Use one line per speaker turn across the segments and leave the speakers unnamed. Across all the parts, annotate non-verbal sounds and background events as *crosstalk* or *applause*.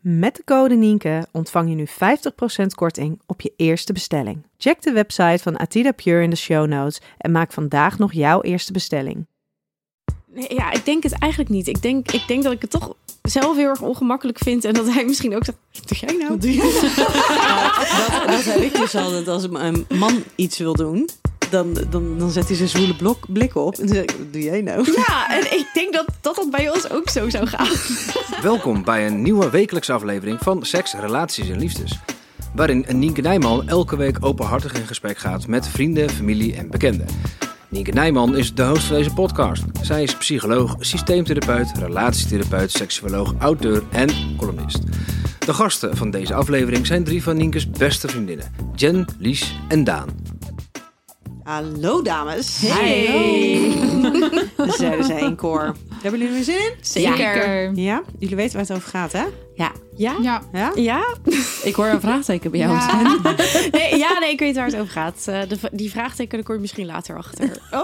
Met de code Nienke ontvang je nu 50% korting op je eerste bestelling. Check de website van Atida Pure in de show notes en maak vandaag nog jouw eerste bestelling.
Nee, ja, ik denk het eigenlijk niet. Ik denk, ik denk dat ik het toch zelf heel erg ongemakkelijk vind. En dat hij misschien ook zegt, wat doe jij nou?
dat, dat heb ik dus altijd als een- een man iets wil doen. Dan, dan, dan zet hij zijn zwoele blok, blik op. En dan zeg ik, wat doe jij nou?
Ja, en ik denk dat, dat dat bij ons ook zo zou gaan.
Welkom bij een nieuwe wekelijkse aflevering van Seks, Relaties en Liefdes. Waarin Nienke Nijman elke week openhartig in gesprek gaat met vrienden, familie en bekenden. Nienke Nijman is de host van deze podcast. Zij is psycholoog, systeemtherapeut, relatietherapeut, seksuoloog, auteur en columnist. De gasten van deze aflevering zijn drie van Nienke's beste vriendinnen: Jen, Lies en Daan.
Hallo dames. We zijn dus één koor. Hebben jullie er zin in?
Zeker.
Ja, jullie weten waar het over gaat hè?
Ja?
Ja.
Ja?
Ja?
Ik hoor een vraagteken bij jou.
Nee, ja, nee, ik weet waar het over gaat. Eh, de v- die vraagteken, daar kom je misschien later achter.
Oh.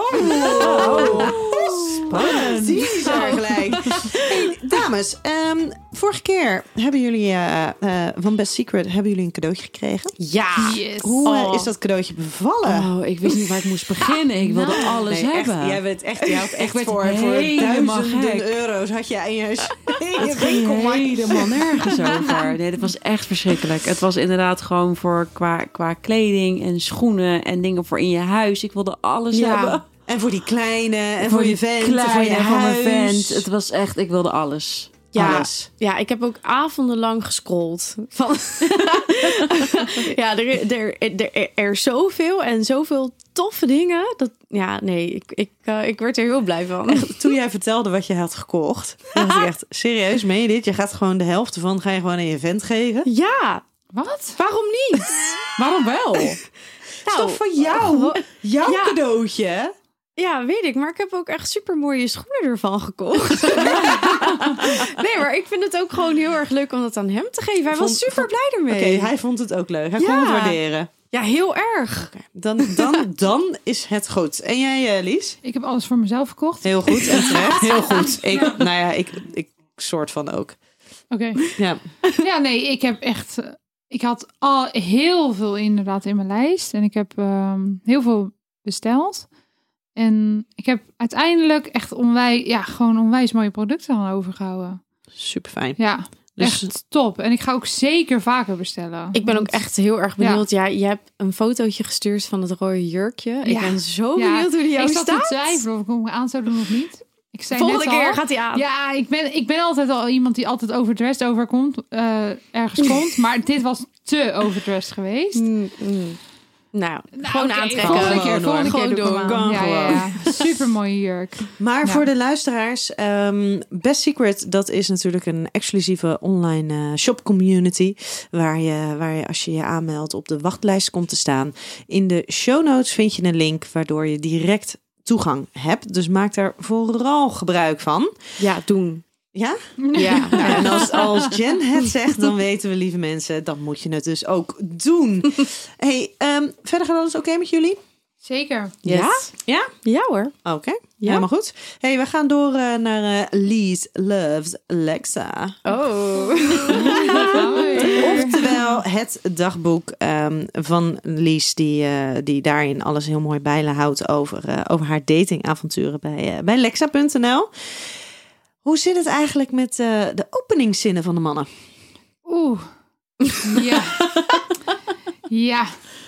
Oh.
Spannend. Zie je daar Oh. gelijk. Hey, dames, ehm, vorige keer hebben jullie eh, eh, van Best Secret hebben jullie een cadeautje gekregen.
Ja.
Yes.
Hoe eh,
Oh.
is dat cadeautje bevallen?
Oh, ik wist niet waar ik moest beginnen. Ik wilde alles
Nee, echt,
hebben.
jij bent echt, jij had echt
werd
voor, voor
helemaal
duizenden
gek.
euro's had je
*laughs*
aan je, aan je
Het ging
winkelmarkt.
helemaal nergens over. Nee, dat was echt verschrikkelijk. Het was inderdaad gewoon voor qua, qua kleding en schoenen en dingen voor in je huis. Ik wilde alles
Ja.
hebben.
En voor die kleine, en voor, je
die
vent, en voor
kleine,
je
en voor mijn
huis.
vent. Het was echt, ik wilde alles.
Ja,
Alles.
ja, ik heb ook avondenlang gescrolld. Van *laughs* ja, er, er, er, er, er is zoveel en zoveel toffe dingen. Dat, ja, nee, ik, ik, eh, ik werd er heel blij van.
Toen jij vertelde wat je had gekocht, dacht ik echt, serieus, meen je dit? Je gaat gewoon de helft ervan, ga je gewoon aan je vent geven?
Ja,
Wat?
waarom
*laughs*
niet?
Waarom wel?
Dat is toch van jou? Jouw
Ja.
cadeautje? hè?
Ja, weet ik. Maar ik heb ook echt super mooie schoenen ervan gekocht.
*laughs*
nee, maar ik vind het ook gewoon heel erg leuk om dat aan hem te geven. Hij was
Vond-
super blij
Oké,
ermee.
hij vond het ook leuk. Hij
Ja.
kon het waarderen.
Ja, heel erg.
Dan, dan, *laughs* dan is het goed. En jij, eh, Lies?
Ik heb alles voor mezelf gekocht.
Heel goed en *laughs* terecht. Heel goed. Ik, Nou ja, ik, ik soort van ook.
Oké.
Ja.
Ja, nee, ik heb echt. eh, Ik had al heel veel inderdaad in mijn lijst. En ik heb ehm, heel veel besteld. En ik heb uiteindelijk echt onwijs, ja, gewoon onwijs mooie producten aan overgehouden.
Super fijn.
Ja,
Dus
echt top. En ik ga ook zeker vaker bestellen.
Ik ben ook echt heel erg
Ja.
benieuwd. Ja, je hebt een fotootje gestuurd van het rode jurkje. Ik
Ja.
ben zo
Ja.
benieuwd hoe die jou
ik zat
staat.
te twijfelen of ik hem aan zou doen of niet. Ik zei
Volgende
net al,
keer gaat hij aan.
Ja, ik ben, ik ben altijd al iemand die altijd overdressed overkomt, eh,
*laughs*
ergens komt. Maar dit was te overdressed geweest.
Mm, mm. Nou, gewoon
oké,
aantrekken.
Volgende keer,
Gewoon
volgende
hoor.
keer doe ik hem
Gewoon
aan. Ja, ja, ja. Super mooie jurk.
Maar
Ja.
voor de luisteraars, ehm, Best Secret, dat is natuurlijk een exclusieve online eh, shop community. Waar je, waar je als je je aanmeldt op de wachtlijst komt te staan. In de show notes vind je een link waardoor je direct toegang hebt. Dus maak daar vooral gebruik van.
Ja, doen.
Ja?
*laughs*
Ja.
Nou, en als, als Jen het zegt, dan weten we, lieve mensen, dan moet je het dus ook doen. hey, ehm, verder gaat alles oké met jullie? *laughs*
Zeker.
Ja?
Ja hoor.
Oké,
Ja.
helemaal goed. hey, we gaan door eh, naar eh Lee's Loves Lexa.
Oh.
Gaan we weer.
Oftewel het dagboek ehm, van Lies, die, eh, die daarin alles heel mooi bijhoudt over, eh, over haar datingavonturen bij, eh, bij Lexa.nl. Hoe zit het eigenlijk met eh, de openingszinnen van de mannen?
Oeh.
*laughs*
Ja. ja.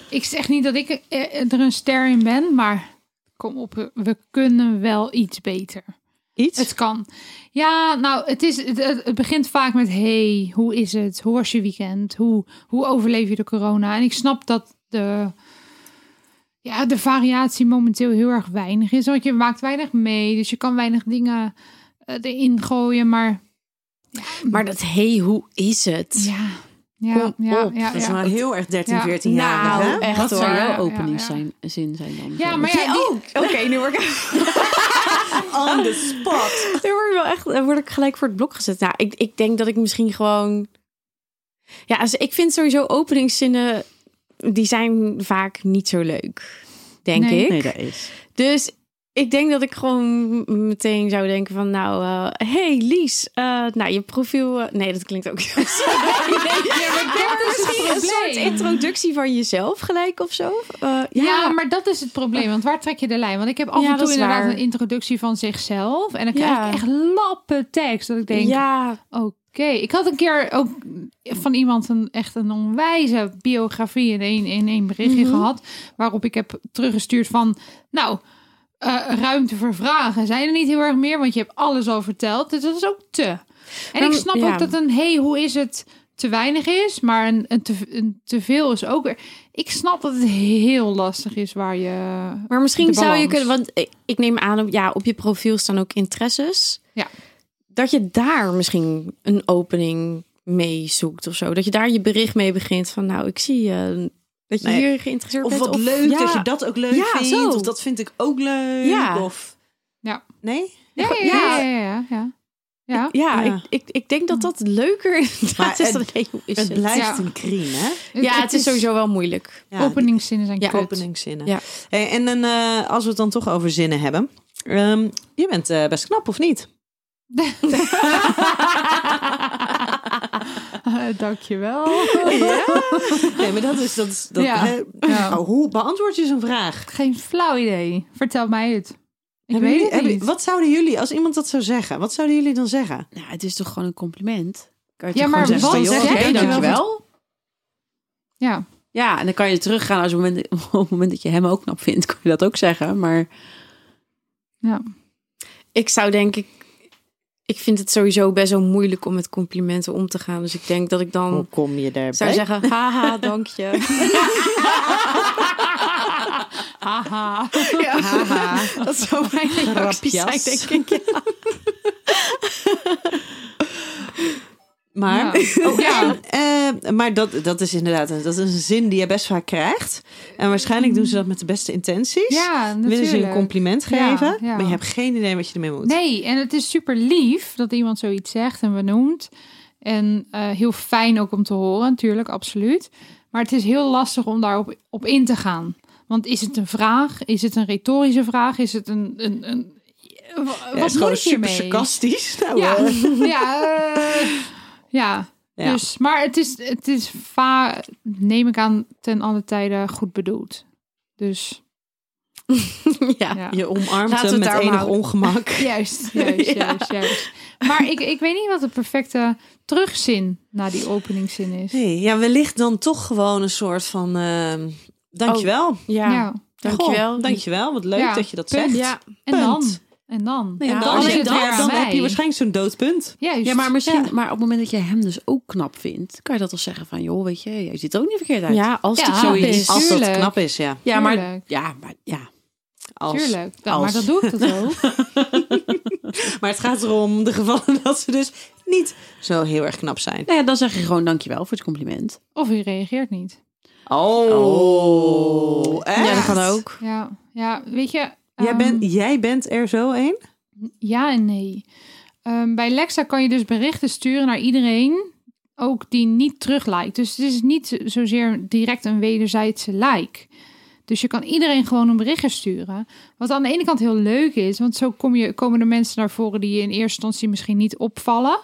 Ik zeg niet dat ik eh, er een ster in ben, maar kom op, we kunnen wel iets beter.
Iets?
Het kan. Ja, nou, het, is, het, het- het begint vaak met: hey, hoe is het? Hoe was je weekend? Hoe, hoe overleef je de corona? En ik snap dat de, ja, de variatie momenteel heel erg weinig is. Want je maakt weinig mee, dus je kan weinig dingen eh, erin gooien. Maar
Maar dat hey, hoe is het?
ja, ja,
Kom
ja,
op,
ja,
dat is
ja.
nou heel erg 13,
Ja.
14 jaar.
Nou,
hè?
echt
Wat
hoor.
zou
Ja,
jouw
ja,
openingszin zijn, zijn dan?
Ja, maar ja, *laughs* die-
Oké, nu word ik,
On the spot.
*laughs* nu word ik wel echt eh, word ik gelijk voor het blok gezet. Nou, ik, ik denk dat ik misschien gewoon. Ja, dus ik vind sowieso openingszinnen. die zijn vaak niet zo leuk. Denk
Nee.
ik.
Nee, dat is.
Dus ik denk dat ik gewoon meteen zou denken van nou, eh, hey Lies, eh, nou je profiel, eh, nee dat klinkt ook heel saai. nee, maar
dat is het
misschien een soort
probleem.
introductie van jezelf gelijk of zo. Eh,
Ja.
ja,
maar dat is het probleem. Want waar trek je de lijn? Want ik heb af
Ja,
en toe
dat is
inderdaad
waar.
een introductie van zichzelf. En dan krijg
Ja.
ik echt lappen tekst. Dat ik denk,
ja,
Oké, ik had een keer ook van iemand een echt een onwijze biografie in één, in één berichtje
Mhm.
gehad. Waarop ik heb teruggestuurd van, nou, eh, ruimte voor vragen zijn er niet heel erg meer, want je hebt alles al verteld. Dus dat is ook te. En ik
Dan-
snap
ja.
ook dat een, hey, hoe is het, te weinig is. Maar een, een, te, een te veel is ook weer... Ik snap dat het heel lastig is waar je...
maar misschien
De
zou je
balans.
kunnen, want ik, ik neem aan, op, ja, op je profiel staan ook interesses.
Ja.
Dat je daar misschien een opening mee zoekt of zo. Dat je daar je bericht mee begint van nou, ik zie eh, dat je
Nee.
hier geïnteresseerd
Of
bent.
wat leuk
ja.
dat je dat ook leuk
Ja,
vindt.
zo.
Of dat vind ik ook leuk.
Ja.
Of...
Ja.
Nee?
Ja, ja, ja. ja, ja, ja. Ja.
Ja,
Ja.
Ik, ik, ik denk dat dat leuker *laughs* inderdaad
Maar
is
het-
dan hey, hoe is
Het
het?
blijft
Ja.
een kriem, hè?
Ja, het, is sowieso wel moeilijk.
Ja,
Openingszinnen zijn
Ja,
kut.
openingszinnen.
Ja.
Hey, en dan, eh, als we het dan toch over zinnen hebben. Ehm, je bent eh, best knap, of
*laughs*
niet?
Eh, *laughs* Dankjewel.
Nee, maar dat is... Dat is dat,
Ja.
hè?
Ja.
Nou, hoe beantwoord je zo'n vraag?
Geen flauw idee. Vertel mij het. Ik
Hebben
weet
jullie-
het
hebben-
niet.
Wat zouden jullie, als iemand dat zou zeggen, wat zouden jullie dan zeggen?
Nou, het is toch gewoon een compliment? Kan je
Ja,
toch
maar
gewoon
wat
zeggen van,
zeg
joh,
je?
oké,
Dankjewel.
dankjewel.
Ja.
Ja, en dan kan je teruggaan als op het, moment, op het moment dat *laughs* je hem ook knap vindt, kan je dat ook zeggen. Maar
Ik zou denk ik... Ik vind het sowieso best wel moeilijk om met complimenten om te gaan. Dus ik denk dat ik dan
Hoe kom je daarbij?
zou zeggen...
*laughs*
Haha, dank je. *laughs*
Haha.
Ja. Dat zou mijn reactie zijn,
Grapjas.
denk ik. *laughs*
*laughs* maar
Ja. Oh, ja.
eh, maar dat, dat is inderdaad een, dat is een zin die je best vaak krijgt. En waarschijnlijk doen ze dat met de beste intenties.
Mm. Ja,
Willen ze je een
natuurlijk.
compliment
Ja,
geven,
ja.
maar je hebt geen idee wat je ermee moet.
Nee, en het is super lief dat iemand zoiets zegt en benoemt. En eh, heel fijn ook om te horen, natuurlijk, absoluut. Maar het is heel lastig om daarop op in te gaan. Want is het een vraag? Is het een retorische vraag? Is het een. een, een wat
Ja, het is gewoon
moet je
super
hiermee?
sarcastisch. *laughs* Nou,
Ja,
eh,
*laughs* ja, eh, ja.
Ja.
Dus, maar het is, het is va, neem ik aan, ten alle tijde goed bedoeld. Dus
Ja.
ja.
Je omarmt
Laten we
hem
het
met
daarom
enig
houden.
*laughs*
ongemak.
Juist, juist,
Ja.
juist, juist. Maar ik, ik weet niet wat de perfecte terugzin na die openingszin is.
Nee, ja, wellicht dan toch gewoon een soort van... ehm dankjewel.
Ja,
Ja.
dankjewel.
Goh, dankjewel, wat leuk
Oh, Ja,
dat je dat
punt.
zegt.
Ja.
En dan?
Punt.
En dan?
Ja,
en dan,
als
als
je
je
dat-
dat, dan
aan
heb je
mij.
waarschijnlijk zo'n doodpunt.
Juist.
ja, maar misschien, maar op het moment dat je hem dus ook knap vindt, kan je dat wel zeggen van, joh, weet je, je ziet er ook niet verkeerd uit.
Ja, als
Ja,
het zo
precies.
is.
Als dat
Ah, Tuurlijk.
knap is, ja.
ja maar,
tuurlijk.
ja, maar, ja.
Als.
Tuurlijk. Dan,
als.
Maar dat doe ik dat ook.
Maar het gaat erom de gevallen *laughs* dat ze dus niet zo heel erg knap zijn.
Nou ja, dan zeg je gewoon dankjewel voor het compliment.
Of je reageert niet.
Oh,
Ja, dat kan ook.
Ja, ja weet je...
Jij
ehm,
bent, jij bent er zo een?
Ja en nee. Ehm, bij Lexa kan je dus berichten sturen naar iedereen, ook die niet teruglijkt. Dus het is niet zozeer direct een wederzijdse like. Dus je kan iedereen gewoon een berichtje sturen. Wat aan de ene kant heel leuk is, want zo kom je, komen er mensen naar voren die je in eerste instantie misschien niet opvallen.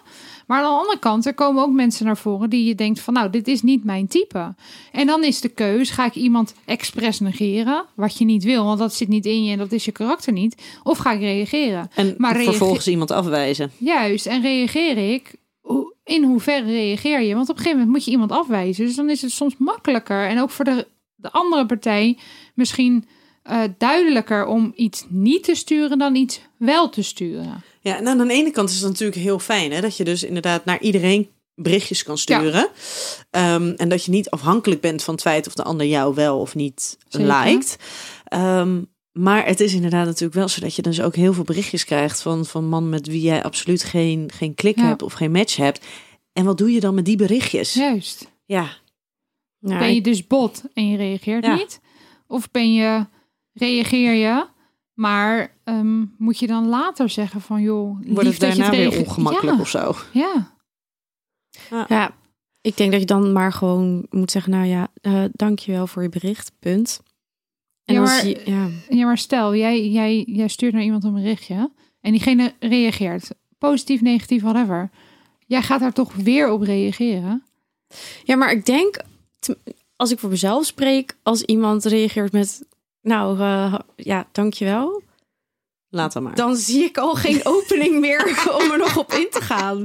Maar aan de andere kant, er komen ook mensen naar voren die je denkt van nou, dit is niet mijn type. En dan is de keus, ga ik iemand expres negeren, wat je niet wil, want dat zit niet in je en dat is je karakter niet. Of ga ik reageren?
En
Maar reageer-
vervolgens iemand afwijzen.
Juist, en reageer ik? Hoe- In hoeverre reageer je? Want op een gegeven moment moet je iemand afwijzen. Dus dan is het soms makkelijker. En ook voor de, de andere partij misschien eh, duidelijker om iets niet te sturen dan iets wel te sturen.
Ja, en aan de ene kant is het natuurlijk heel fijn hè, dat je dus inderdaad naar iedereen berichtjes kan sturen. Ehm, en dat je niet afhankelijk bent van het feit of de ander jou wel of niet
Zeker.
liked. Ehm, maar het is inderdaad natuurlijk wel zo dat je dus ook heel veel berichtjes krijgt van, van man met wie jij absoluut geen, geen klik
Ja.
hebt of geen match hebt. En wat doe je dan met die berichtjes? Ja,
Juist.
Ja,
Ben je dus bot en je reageert
Ja.
niet? Of ben je, reageer je, maar ehm, moet je dan later zeggen van joh,
wordt
lief
het
dat je
daarna weer
reage-
ongemakkelijk
Ja,
of zo?
ja.
Ja, ik denk dat je dan maar gewoon moet zeggen, nou ja, eh dankjewel voor je bericht, punt. En
Ja,
dan
maar-
zie je- ja.
Ja, maar stel, jij, jij, jij stuurt naar iemand een berichtje en diegene reageert. Positief, negatief, whatever. Jij gaat daar toch weer op reageren.
ja, maar ik denk, te- als ik voor mezelf spreek, als iemand reageert met, nou eh ja, dankjewel,
Laat dan maar.
dan zie ik al *laughs* geen opening meer om er nog op in te gaan.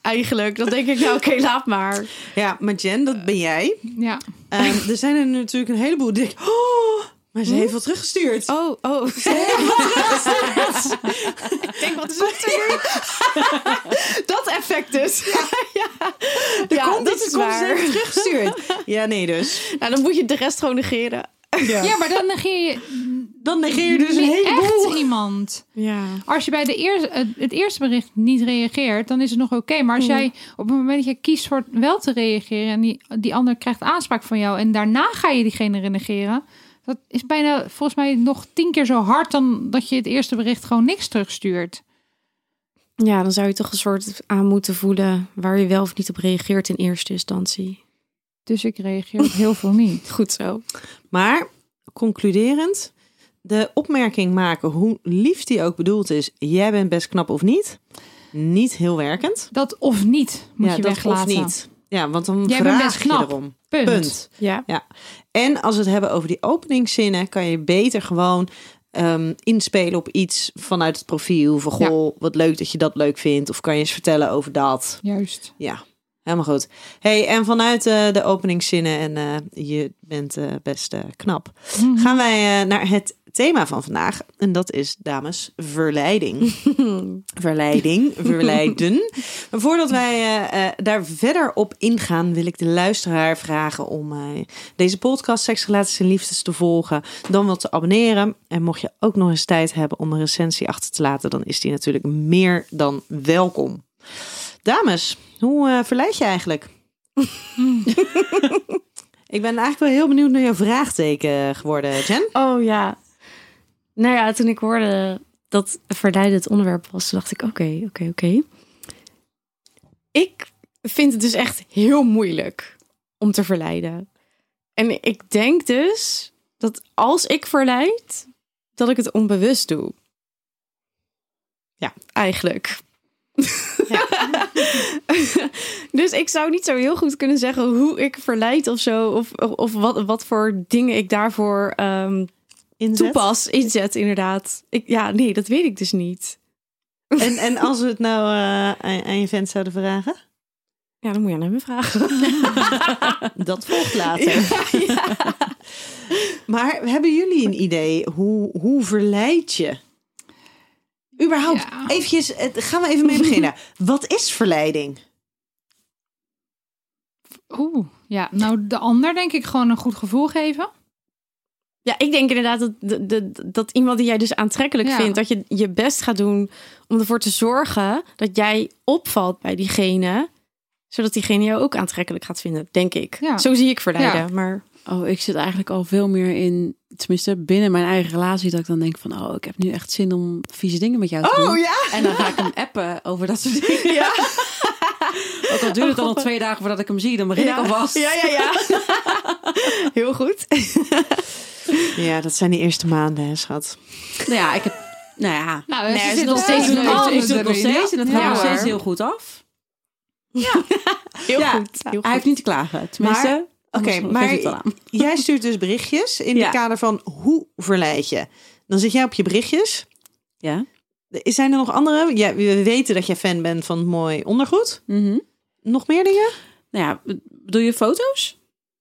Eigenlijk, dan denk ik, nou oké, laat maar.
Ja, maar Jen, dat ben jij.
Ja,
Ehm, er zijn er natuurlijk een heleboel die denken, oh, maar ze heeft wel teruggestuurd.
Oh, *laughs* oh. ik denk, wat is het *laughs* Dat effect dus. *laughs* Ja, ja. Ja, dat is waar.
teruggestuurd.
*laughs*
Ja, nee dus.
Nou, dan moet je de rest gewoon negeren.
ja maar dan negeer je
Dan negeer je dus een heleboel.
echt iemand.
Ja.
Als je bij de eerste, het- het eerste bericht niet reageert, dan is het nog oké. Maar als jij op het moment dat je kiest voor wel te reageren... en die, die ander krijgt aanspraak van jou... en daarna ga je diegene negeren... dat is bijna volgens mij nog tien keer zo hard... dan dat je het eerste bericht gewoon niks terugstuurt.
Ja, dan zou je toch een soort aan moeten voelen waar je wel of niet op reageert in eerste instantie.
Dus ik reageer op heel veel niet.
Goed zo.
Maar, concluderend, de opmerking maken, hoe lief die ook bedoeld is, jij bent best knap of niet, niet heel werkend.
Dat of niet moet
ja,
je
dat
weglaten.
of niet. Ja, want dan
Jij bent
vraag
best
je
knap.
erom.
Punt.
Punt.
Ja.
En als we het hebben over die openingszinnen, kan je beter gewoon ehm, inspelen op iets vanuit het profiel. Van
Ja.
goh, wat leuk dat je dat leuk vindt. Of kan je eens vertellen over dat.
Juist.
Ja, helemaal goed. Hey, en vanuit eh, de openingszinnen en eh, je bent eh, best eh, knap, gaan wij eh, naar het thema van vandaag. En dat is, dames, verleiding. verleiding, verleiden. Maar voordat wij eh, eh, daar verder op ingaan, wil ik de luisteraar vragen om eh, deze podcast Seks, Relaties en Liefdes te volgen. Dan wel te abonneren. En mocht je ook nog eens tijd hebben om een recensie achter te laten, dan is die natuurlijk meer dan welkom. Dames, hoe eh, verleid je *laughs* eigenlijk? ik ben eigenlijk wel heel benieuwd naar jouw vraagteken geworden, Jen.
Oh ja. Nou ja, toen ik hoorde dat verleiden het onderwerp was, toen dacht ik: oké, oké, oké. Ik vind het dus echt heel moeilijk om te verleiden. En ik denk dus dat als ik verleid, dat ik het onbewust doe.
Ja.
Eigenlijk. dus ik zou niet zo heel goed kunnen zeggen hoe ik verleid of zo. Of, of wat, wat voor dingen ik daarvoor ehm,
Inzet.
toepas, inzet, inderdaad. Ik, ja, nee, dat weet ik dus niet.
En, en als we het nou eh, aan, aan je vent zouden vragen?
Ja, dan moet je aan hem vragen. *laughs*
Dat volgt later. Maar hebben jullie een idee hoe, hoe verleid je? Überhaupt,
Ja.
eventjes, eh, gaan we even mee *laughs* beginnen. Wat is verleiding?
Oeh. Ja, nou de ander denk ik gewoon een goed gevoel geven.
Ja, ik denk inderdaad dat, dat, dat, dat iemand die jij dus aantrekkelijk
Ja.
vindt, dat je je best gaat doen om ervoor te zorgen dat jij opvalt bij diegene, zodat diegene jou ook aantrekkelijk gaat vinden, denk ik.
Ja.
Zo zie ik verleiden,
Ja.
maar
Oh, ik zit eigenlijk al veel meer in, tenminste binnen mijn eigen relatie, dat ik dan denk van, oh, ik heb nu echt zin om vieze dingen met jou te doen.
Oh, ja!
En dan ga ik hem appen over dat soort dingen. Oh, Ja. *laughs* Oh. Ook al duurt het dan nog twee dagen voordat ik hem zie, dan begin ik alvast.
ja, ja. Heel goed.
Ja, dat zijn die eerste maanden, hè, schat.
Nou ja, ik heb... Nou ja,
Nou,
Nee,
ze
het is
zit
nog
wel
steeds
leuk.
leuk.
Oh,
oh,
is
ik doe het nog steeds en dat gaat
Ja,
nog steeds
hoor.
heel goed af. *laughs*
Heel
Ja,
goed. Heel
Hij heeft niet te klagen, tenminste.
Maar- Oké,
anders
maar
geeft het wel aan.
jij stuurt dus berichtjes in
Ja.
het kader van hoe verleid je. Dan zit jij op je berichtjes.
Ja.
Zijn er nog andere? Ja, we weten dat jij fan bent van mooi ondergoed.
Mhm.
Nog meer dingen?
Nou ja, b- bedoel je foto's?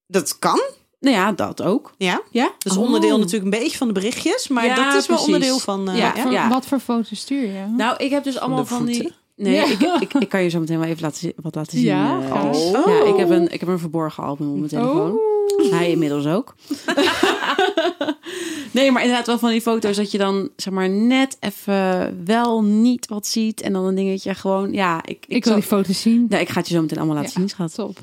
Dat kan,
Nou ja, dat ook.
ja.
Ja.
Dat is
Oh.
onderdeel natuurlijk een beetje van de berichtjes. Maar
Ja,
dat is wel
precies.
onderdeel van... eh,
Ja,
ja.
Voor-
ja.
Wat voor foto's stuur je?
Nou, ik heb dus allemaal van die...
voeten.
Nee,
Ja.
ik, ik, ik kan je zo meteen wel even laten, zien- wat laten zien.
Ja,
eh,
graag.
Oh.
ja ik, heb een, ik heb een verborgen album op mijn telefoon. Hij inmiddels ook. nee, maar inderdaad wel van die foto's dat je dan zeg maar net even wel niet wat ziet. En dan een dingetje gewoon, ja. Ik,
ik wil die foto's zien.
nee, Nou, ik ga het je zo meteen allemaal laten
Ja.
zien, schat.
Top.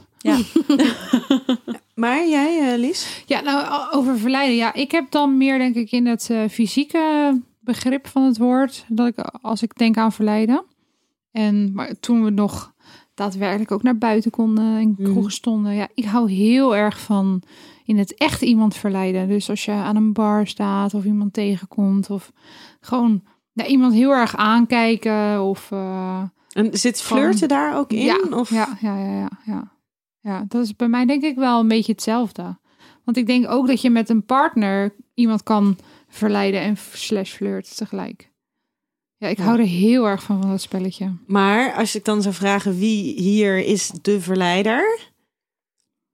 Maar jij, eh, Lies?
Ja, nou, o- over verleiden. Ja, ik heb dan meer, denk ik, in het eh, fysieke begrip van het woord. Dat ik, als ik denk aan verleiden. En maar toen we nog daadwerkelijk ook naar buiten konden en kroegen stonden. Ja, ik hou heel erg van in het echt iemand verleiden. Dus als je aan een bar staat of iemand tegenkomt. Of gewoon ja, iemand heel erg aankijken. Of eh,
En zit flirten daar ook in?
ja,
of?
Ja, ja, ja, ja, ja. Ja, dat is bij mij denk ik wel een beetje hetzelfde. Want ik denk ook dat je met een partner iemand kan verleiden en f- slash flirt tegelijk. Ja, ik hou er heel erg van, van dat spelletje.
Maar als ik dan zou vragen wie hier is de verleider...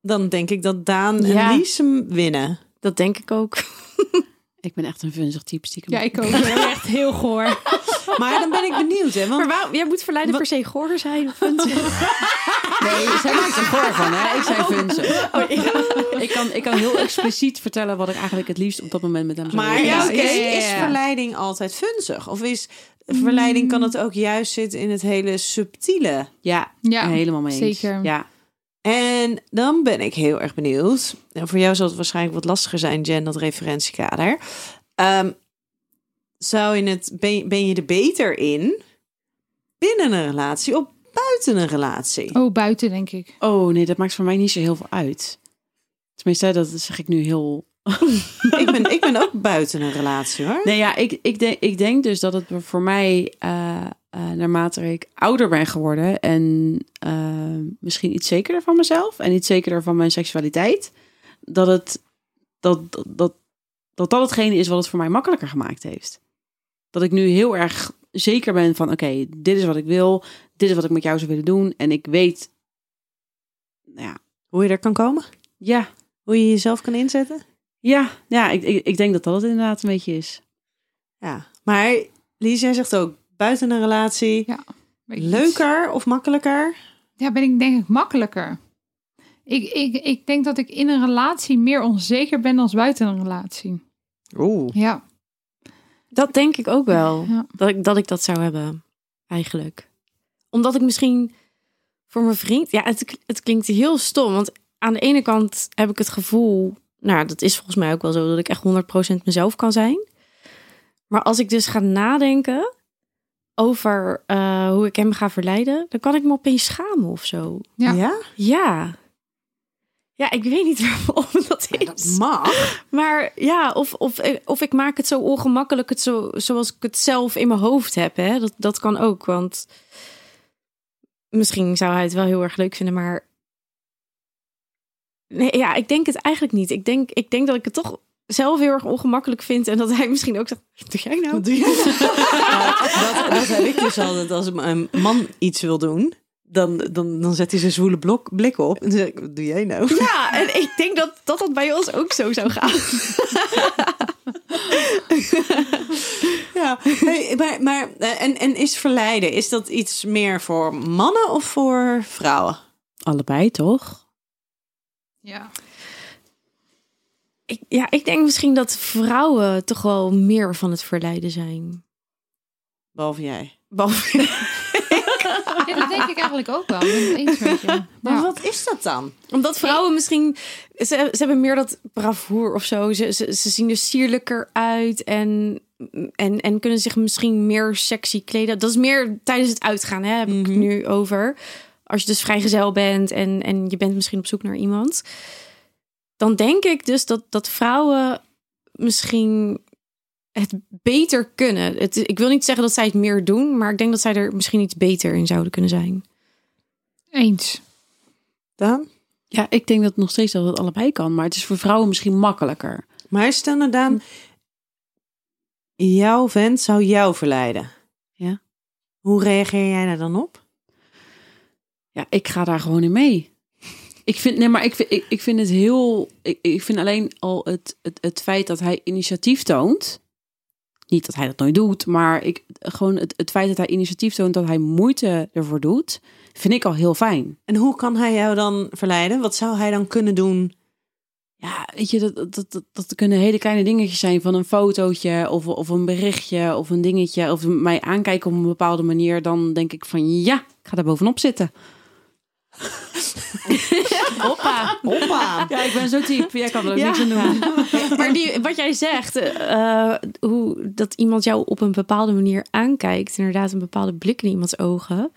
Dan denk ik dat Daan
Ja.
en Lies hem winnen.
Dat denk ik ook.
Ik ben echt een vunzig type stiekem.
Ja, ik ook. echt heel goor.
Maar dan ben ik benieuwd, hè? Want
Maar waarom? Jij moet verleiden per se goor zijn. of *laughs* Oh, vindt ze-
Nee, zij maakt er voor van, hè? Ik zijn vunzig. ik, kan, ik kan heel expliciet vertellen wat ik eigenlijk het liefst op dat moment met hem zou
Maar
willen.
is,
Ja, Mm. oké.
is, is verleiding altijd funzig? Of is verleiding kan het ook juist zitten in het hele subtiele?
Ja,
Ja,
helemaal mee eens.
zeker.
Ja.
En dan ben ik heel erg benieuwd. En voor jou zal het waarschijnlijk wat lastiger zijn, Jen, dat referentiekader. Ehm, zou je het, ben, ben je er beter in binnen een relatie of buiten een relatie?
*laughs* Oh, buiten denk ik.
Oh nee, dat maakt voor mij niet zo heel veel uit. Tenminste, dat zeg ik nu heel
Oh.
Ik, ben, ik ben ook buiten een relatie hoor.
Nee, ja, ik, ik, denk, ik denk dus dat het voor mij, eh, eh, naarmate ik ouder ben geworden en eh, misschien iets zekerder van mezelf en iets zekerder van mijn seksualiteit, dat het dat dat, dat, dat dat hetgene is wat het voor mij makkelijker gemaakt heeft. Dat ik nu heel erg zeker ben van, oké, dit is wat ik wil, dit is wat ik met jou zou willen doen en ik weet, nou ja,
Hoe je er kan komen?
ja,
Hoe je jezelf kan inzetten?
ja, ja ik, ik, ik denk dat dat het inderdaad een beetje is.
Ja. Maar Lies, jij zegt ook buiten een relatie.
Weet je iets?
Leuker of makkelijker?
Ja, ben ik denk ik makkelijker. Ik, ik, ik denk dat ik in een relatie meer onzeker ben dan buiten een relatie.
Oeh.
Ja.
Dat denk ik ook wel.
Ja.
Dat, ik, dat ik dat zou hebben, eigenlijk. Omdat ik misschien voor mijn vriend... Ja, het, het klinkt heel stom. Want aan de ene kant heb ik het gevoel... Nou, dat is volgens mij ook wel zo. Dat ik echt 100% mezelf kan zijn. Maar als ik dus ga nadenken over eh, hoe ik hem ga verleiden... dan kan ik me opeens schamen of zo.
Ja.
Ja. Ja, ik weet niet *laughs* waarom dat is.
Mag.
Maar ja, of, of, of ik maak het zo ongemakkelijk het zo, zoals ik het zelf in mijn hoofd heb. Hè? Dat, dat kan ook, want misschien zou hij het wel heel erg leuk vinden, maar... Nee, ja, ik denk het eigenlijk niet. Ik denk, ik denk dat ik het toch zelf heel erg ongemakkelijk vind. En dat hij misschien ook zegt, wat doe jij nou?
Wat doe je? *laughs* dat, dat heb ik dus altijd. Als een man iets wil doen, dan, dan, dan zet hij zijn zwoele blok, blik op. En dan zeg ik, wat doe jij nou?
Ja, en ik denk dat dat, dat bij ons ook zo zou gaan.
Ja. Hey, maar, maar, eh, en, en is verleiden, is dat iets meer voor mannen of voor vrouwen?
Allebei toch?
Ja.
Ik, ja, ik denk misschien dat vrouwen toch wel meer van het verleiden zijn.
Behalve jij.
Behalve
Ja, dat denk ik eigenlijk ook wel. Ik ben het eens met je.
*laughs* Maar
Ja.
wat is dat dan?
Omdat vrouwen misschien... Ze, ze hebben meer dat bravoer of zo. Ze, ze, ze zien er sierlijker uit en, en, en kunnen zich misschien meer sexy kleden. Dat is meer tijdens het uitgaan, hè, heb ik het nu over. Als je dus vrijgezel bent en, en je bent misschien op zoek naar iemand. Dan denk ik dus dat, dat vrouwen misschien het beter kunnen. Het, ik wil niet zeggen dat zij het meer doen, maar ik denk dat zij er misschien iets beter in zouden kunnen zijn.
Eens.
Daan?
Ja, ik denk dat nog steeds dat het allebei kan. Maar het is voor vrouwen misschien makkelijker.
Maar stel nou, Daan, jouw vent zou jou verleiden.
Ja.
Hoe reageer jij daar dan op?
Ja, ik ga daar gewoon in mee. Ik vind, nee, maar ik vind, ik, ik vind het heel. Ik, ik vind alleen al het, het, het feit dat hij initiatief toont. Niet dat hij dat nooit doet, maar ik, gewoon het, het feit dat hij initiatief toont, dat hij moeite ervoor doet, vind ik al heel fijn.
En hoe kan hij jou dan verleiden? Wat zou hij dan kunnen doen?
Ja, weet je, dat, dat, dat, dat kunnen hele kleine dingetjes zijn van een fotootje of, of een berichtje of een dingetje. Of mij aankijken op een bepaalde manier. Dan denk ik van ja, ik ga daar bovenop zitten. Hoppa.
Hoppa!
Ja, ik ben zo diep. Jij kan er ook niks aan doen.
Maar die, wat jij zegt, eh, eh, hoe, dat iemand jou op een bepaalde manier aankijkt, inderdaad een bepaalde blik in iemands ogen.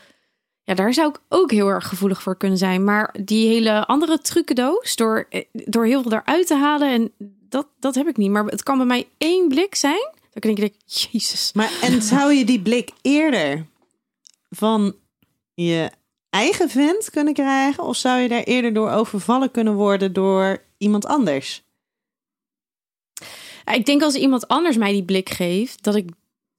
Ja, daar zou ik ook heel erg gevoelig voor kunnen zijn. Maar die hele andere trucendoos, door, eh, door heel veel eruit te halen, en dat, dat heb ik niet. Maar het kan bij mij één blik zijn. Dan denk ik, jezus.
Maar *laughs* en zou je die blik eerder van je eigen vent kunnen krijgen? Of zou je daar eerder door overvallen kunnen worden door iemand anders?
Ja, Ik denk als iemand anders mij die blik geeft, dat ik,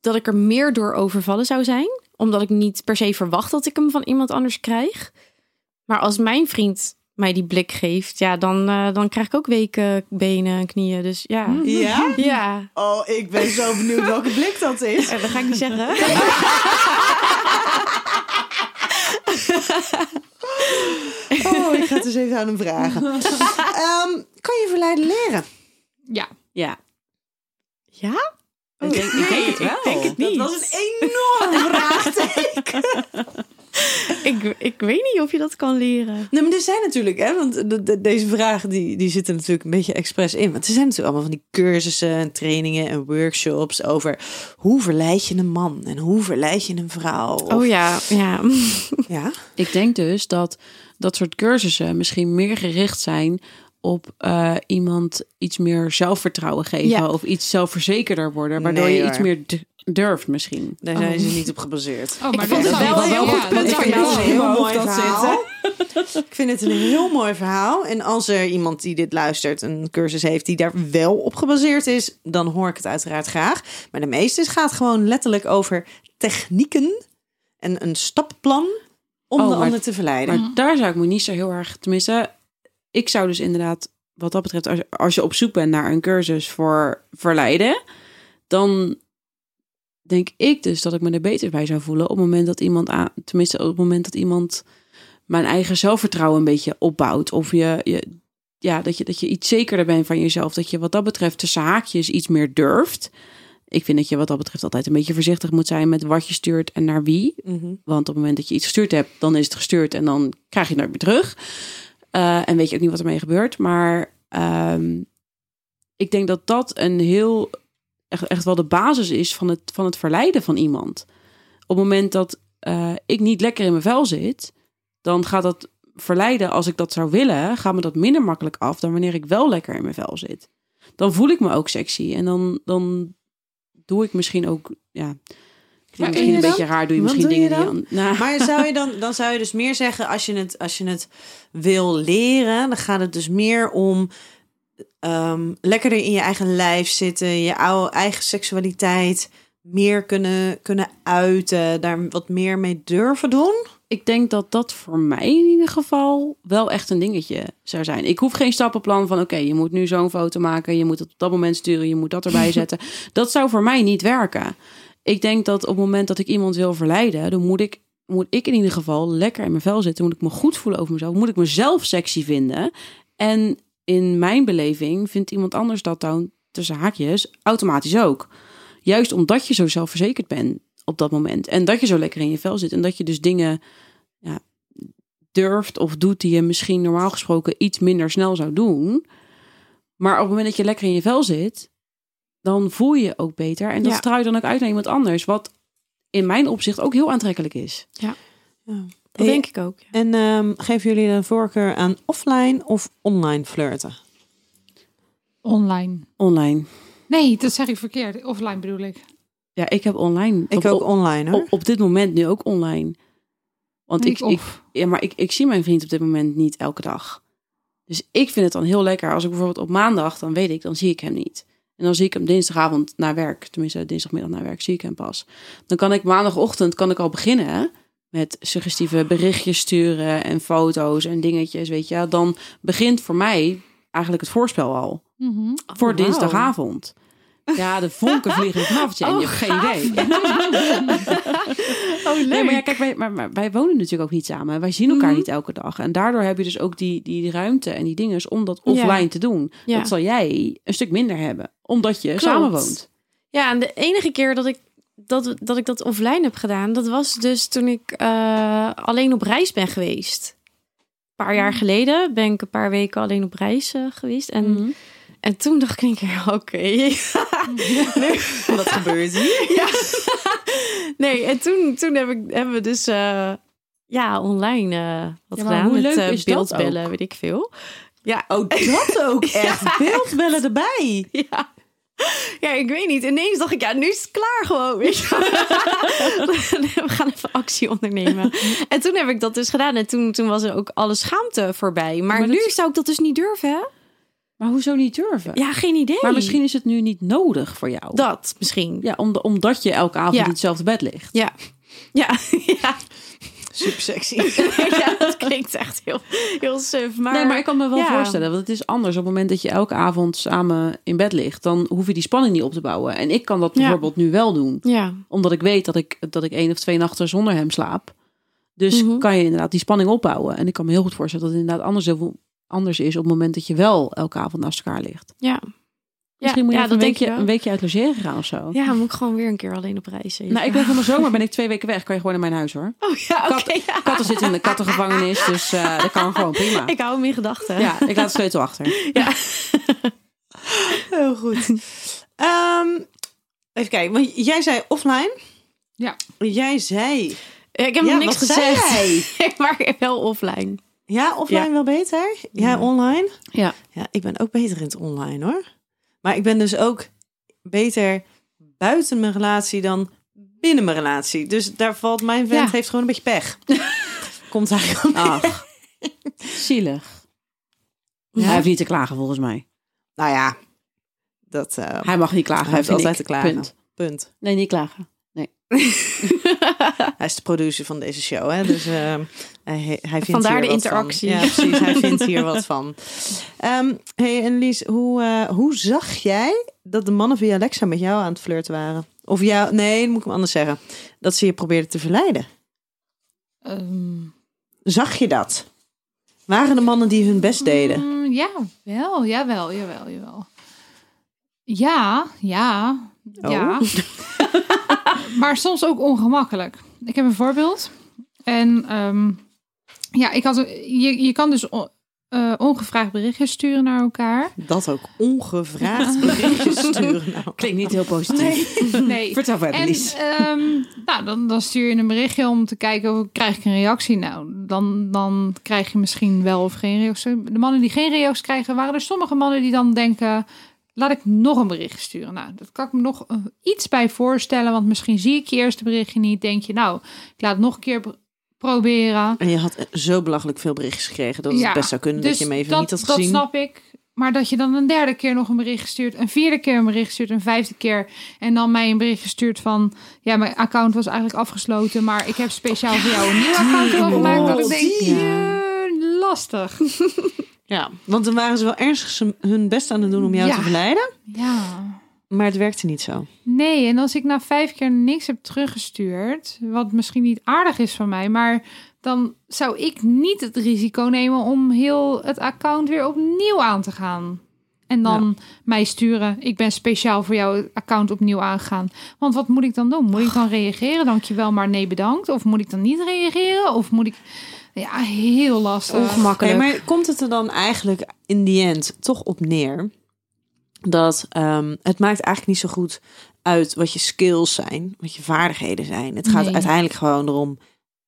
dat ik er meer door overvallen zou zijn. Omdat ik niet per se verwacht dat ik hem van iemand anders krijg. Maar als mijn vriend mij die blik geeft, ja, dan, eh, dan krijg ik ook weken benen en knieën. Dus ja.
Ja?
Ja,
Oh, ik ben zo benieuwd welke blik dat is.
Eh, dat ga ik niet zeggen.
Oh, ik ga het eens even aan hem
*laughs*
vragen. Ehm, kan je verleiden leren?
Ja.
Ja.
*laughs* Ja?
Oh,
Ik denk, ik denk het wel.
Dat was een *laughs* enorm vraagteken.
Ik, ik weet niet of je dat kan leren.
Nee, maar er zijn natuurlijk, hè, want de- de- deze vraag die, die zit er natuurlijk een beetje expres in. Want er zijn natuurlijk allemaal van die cursussen en trainingen en workshops over hoe verleid je een man en hoe verleid je een vrouw. Of-
Oh ja, ja. *laughs*
ja.
Ik denk dus dat dat soort cursussen misschien meer gericht zijn op eh, iemand iets meer zelfvertrouwen geven
Ja.
of iets zelfverzekerder worden, waardoor
Nee,
je
hoor.
iets meer d- durft misschien.
Daar zijn ze niet op gebaseerd.
Oh, maar
Ik vond
dat
het
is
wel een heel
ja,
goed
dat
punt
is
van
wel
jou.
heel-
een heel
hoofd
mooi
dat
verhaal. Ik vind het een heel mooi verhaal. En als er iemand die dit luistert een cursus heeft die daar wel op gebaseerd is, dan hoor ik het uiteraard graag. Maar de meeste gaat gewoon letterlijk over technieken en een stappenplan om
Oh,
de
maar-
ander te verleiden.
Maar daar zou ik me niet zo heel erg, tenminste, ik zou dus inderdaad, wat dat betreft, als, je- als je op zoek bent naar een cursus voor verleiden, dan denk ik dus dat ik me er beter bij zou voelen op het moment dat iemand aan, tenminste op het moment dat iemand mijn eigen zelfvertrouwen een beetje opbouwt of je, je ja, dat je, dat je iets zekerder bent van jezelf, dat je wat dat betreft tussen haakjes iets meer durft. Ik vind dat je wat dat betreft altijd een beetje voorzichtig moet zijn met wat je stuurt en naar wie.
Mhm.
Want op het moment dat je iets gestuurd hebt, dan is het gestuurd en dan krijg je het nooit meer terug. Eh, en weet je ook niet wat ermee gebeurt. Maar ehm, ik denk dat dat een heel, echt, echt wel de basis is van het, van het verleiden van iemand. Op het moment dat eh, ik niet lekker in mijn vel zit, dan gaat dat verleiden, als ik dat zou willen, gaat me dat minder makkelijk af dan wanneer ik wel lekker in mijn vel zit. Dan voel ik me ook sexy en dan, dan doe ik misschien ook, ja.
Maar
Klinkt misschien een
en dan?
beetje raar, doe je
Wat
misschien
doe je
dingen
dan?
die je... Nou,
Maar zou je dan, dan zou je dus meer zeggen, als je het, als je het wil leren, dan gaat het dus meer om ehm, lekkerder in je eigen lijf zitten, je oude, eigen seksualiteit meer kunnen, kunnen uiten, daar wat meer mee durven doen.
ik denk dat dat voor mij in ieder geval wel echt een dingetje zou zijn. Ik hoef geen stappenplan van oké, je moet nu zo'n foto maken, je moet het op dat moment sturen, je moet
*laughs*
dat erbij zetten. dat zou voor mij niet werken. Ik denk dat op het moment dat ik iemand wil verleiden, dan moet ik, moet ik in ieder geval lekker in mijn vel zitten, moet ik me goed voelen over mezelf, moet ik mezelf sexy vinden. En in mijn beleving vindt iemand anders dat dan tussen haakjes automatisch ook. Juist omdat je zo zelfverzekerd bent op dat moment en dat je zo lekker in je vel zit en dat je dus dingen durft of doet die je misschien normaal gesproken iets minder snel zou doen. Maar op het moment dat je lekker in je vel zit, dan voel je je ook beter. En dat
Ja.
straal je dan ook uit naar iemand anders. Wat in mijn opzicht ook heel aantrekkelijk is.
Dat
Hey,
denk ik ook.
En ehm, geven jullie een voorkeur aan offline of online flirten?
Online.
Online.
Nee, dat zeg ik verkeerd. Offline bedoel ik.
Ja, ik heb online.
Ik
Op-
ook
op-
online hoor.
op, op dit moment nu ook online. Want
Nee,
ik, ik,
off.
ja, maar ik, ik zie mijn vriend op dit moment niet elke dag. Dus ik vind het dan heel lekker als ik bijvoorbeeld op maandag, dan weet ik, dan zie ik hem niet. En dan zie ik hem dinsdagavond naar werk, tenminste dinsdagmiddag naar werk, zie ik hem pas. Dan kan ik maandagochtend kan ik al beginnen met suggestieve berichtjes sturen en foto's en dingetjes, weet je. wel. Dan begint voor mij eigenlijk het voorspel al
Mhm.
voor
wauw.
dinsdagavond. Ja, de vonken vliegen vanaf je en je hebt geen idee.
Oh, leuk.
Nee, maar ja, kijk, wij, maar, maar wij wonen natuurlijk ook niet samen. Wij zien
Mhm.
elkaar niet elke dag. En daardoor heb je dus ook die, die ruimte en die dingen om dat offline te doen.
Ja.
Dat zal jij een stuk minder hebben, omdat je samen woont.
Ja, en de enige keer dat ik dat, dat ik dat offline heb gedaan, dat was dus toen ik eh, alleen op reis ben geweest. Een paar
Mm.
jaar geleden ben ik een paar weken alleen op reis eh, geweest. En,
Mm-hmm.
en toen dacht ik, *laughs* in één keer, oké.
*laughs*
Wat gebeurt hier?
*laughs* ja. nee, en toen, toen heb ik, hebben we dus eh, ja, online eh, wat
Ja, maar
gedaan.
hoe
met
leuk
eh,
is dat
beeldbellen,
ook?
weet ik veel. Ja,
Oh, dat *laughs* ook echt. Beeldbellen erbij.
*laughs* Ja. Ja, ik weet niet. Ineens dacht ik, ja, nu is het klaar gewoon. Weet je.
*laughs*
wel. We gaan even actie ondernemen. En toen heb ik dat dus gedaan. En toen, toen was er ook alle schaamte voorbij. Maar,
Maar dat-
nu zou ik dat dus niet durven, hè?
Maar hoezo niet durven?
Ja, geen idee.
Maar misschien is het nu niet nodig voor jou.
Dat, misschien.
Ja, om- omdat je elke avond
Ja.
in hetzelfde bed ligt.
Ja. Ja, *laughs* ja.
Subsexy.
*laughs* ja, dat klinkt echt heel, heel suf. Maar...
nee, maar ik kan me wel
ja.
voorstellen, want het is anders. Op het moment dat je elke avond samen in bed ligt, dan hoef je die spanning niet op te bouwen. En ik kan dat
Ja.
bijvoorbeeld nu wel doen.
Ja,
Omdat ik weet dat ik, dat ik één of twee nachten zonder hem slaap. Dus
Mhm.
kan je inderdaad die spanning opbouwen. En ik kan me heel goed voorstellen dat het inderdaad anders, heel veel anders is op het moment dat je wel elke avond naast elkaar ligt.
ja.
Misschien moet je
ja,
even een,
denk ik
weekje,
wel.
een weekje uit logeren gaan of zo.
Ja, moet ik gewoon weer een keer alleen op reis. even.
Nou, ik ben van de zomer ben ik twee weken weg. Kan je gewoon naar mijn huis hoor.
Oh ja, oké. ja.
Katten zitten in de kattengevangenis, dus eh, dat kan gewoon prima.
Ik hou hem in gedachten.
Ja, ik laat de sleutel achter.
ja.
Heel goed. Ehm, even kijken, want jij zei offline.
Ja.
Jij zei.
Eh, Ik heb
ja,
nog niks
wat zei
gezegd. *laughs*
jij?
maar wel offline.
Ja, offline
Ja.
wel beter. Jij online?
Ja.
Ja, ik ben ook beter in het online hoor. Maar ik ben dus ook beter buiten mijn relatie dan binnen mijn relatie. Dus daar valt mijn vent
Ja.
heeft gewoon een beetje pech. Komt eigenlijk op neer.
Ach, zielig. Hij heeft niet te klagen volgens mij.
Nou ja, dat eh,
Hij mag niet klagen.
Hij heeft
vind
altijd
ik.
te klagen.
Punt.
punt.
Nee, niet klagen.
Hij is de producer van deze show, hè? Dus eh, hij, hij vindt
Vandaar
hier
de
wat
interactie.
Van. Ja, precies. Hij vindt hier wat van. Ehm hey, en Lies, hoe, eh, hoe zag jij dat de mannen via Alexa met jou aan het flirten waren? Of jou, nee, moet ik hem anders zeggen. Dat ze je probeerden te verleiden.
Ehm,
Zag je dat? Waren de mannen die hun best deden?
Mm, ja, wel, jawel, jawel, jawel. Ja, ja,
Oh.
ja. *laughs* maar soms ook ongemakkelijk. Ik heb een voorbeeld. En ehm, ja, ik had, je, je kan dus on- eh, ongevraagd berichtjes sturen naar elkaar.
Dat ook ongevraagd berichtjes sturen. Nou,
Klinkt niet heel positief.
*laughs* Nee.
Vertel verder,
En
Lies.
ehm, nou, dan, dan stuur je een berichtje om te kijken of krijg ik een reactie. Nou, dan, dan krijg je misschien wel of geen reactie. De mannen die geen reacties krijgen, waren er sommige mannen die dan denken. Laat ik nog een berichtje sturen. Nou, dat kan ik me nog eh, iets bij voorstellen. Want misschien zie ik je eerste berichtje niet. Denk je, nou, ik laat het nog een keer pro- proberen.
En je had eh, zo belachelijk veel berichtjes gekregen dat het
Ja,
best zou kunnen dat je hem even niet had
Dus dat
gezien.
snap ik. Maar dat je dan een derde keer nog een bericht stuurt, een vierde keer een bericht stuurt, een vijfde keer. En dan mij een bericht stuurt van: Ja, mijn account was eigenlijk afgesloten, maar ik heb speciaal voor jou een nieuw account gemaakt. Dat ik denk: "Eh, Lastig.
Ja, want dan waren ze wel ernstig ze- hun best aan het doen om jou
Ja.
te verleiden.
Ja.
Maar het werkte niet zo.
Nee, en als ik na vijf keer niks heb teruggestuurd, wat misschien niet aardig is van mij, maar dan zou ik niet het risico nemen om heel het account weer opnieuw aan te gaan. En dan mij sturen, ik ben speciaal voor jouw account opnieuw aangegaan. Want wat moet ik dan doen? Moet ik dan reageren? Dankjewel, maar nee bedankt. Of moet ik dan niet reageren? Of moet ik... Ja, heel lastig.
Oké,
Ongemakkelijk.
maar komt het er dan eigenlijk in die end toch op neer dat ehm, het maakt eigenlijk niet zo goed uit wat je skills zijn, wat je vaardigheden zijn. Het gaat
Nee.
uiteindelijk gewoon erom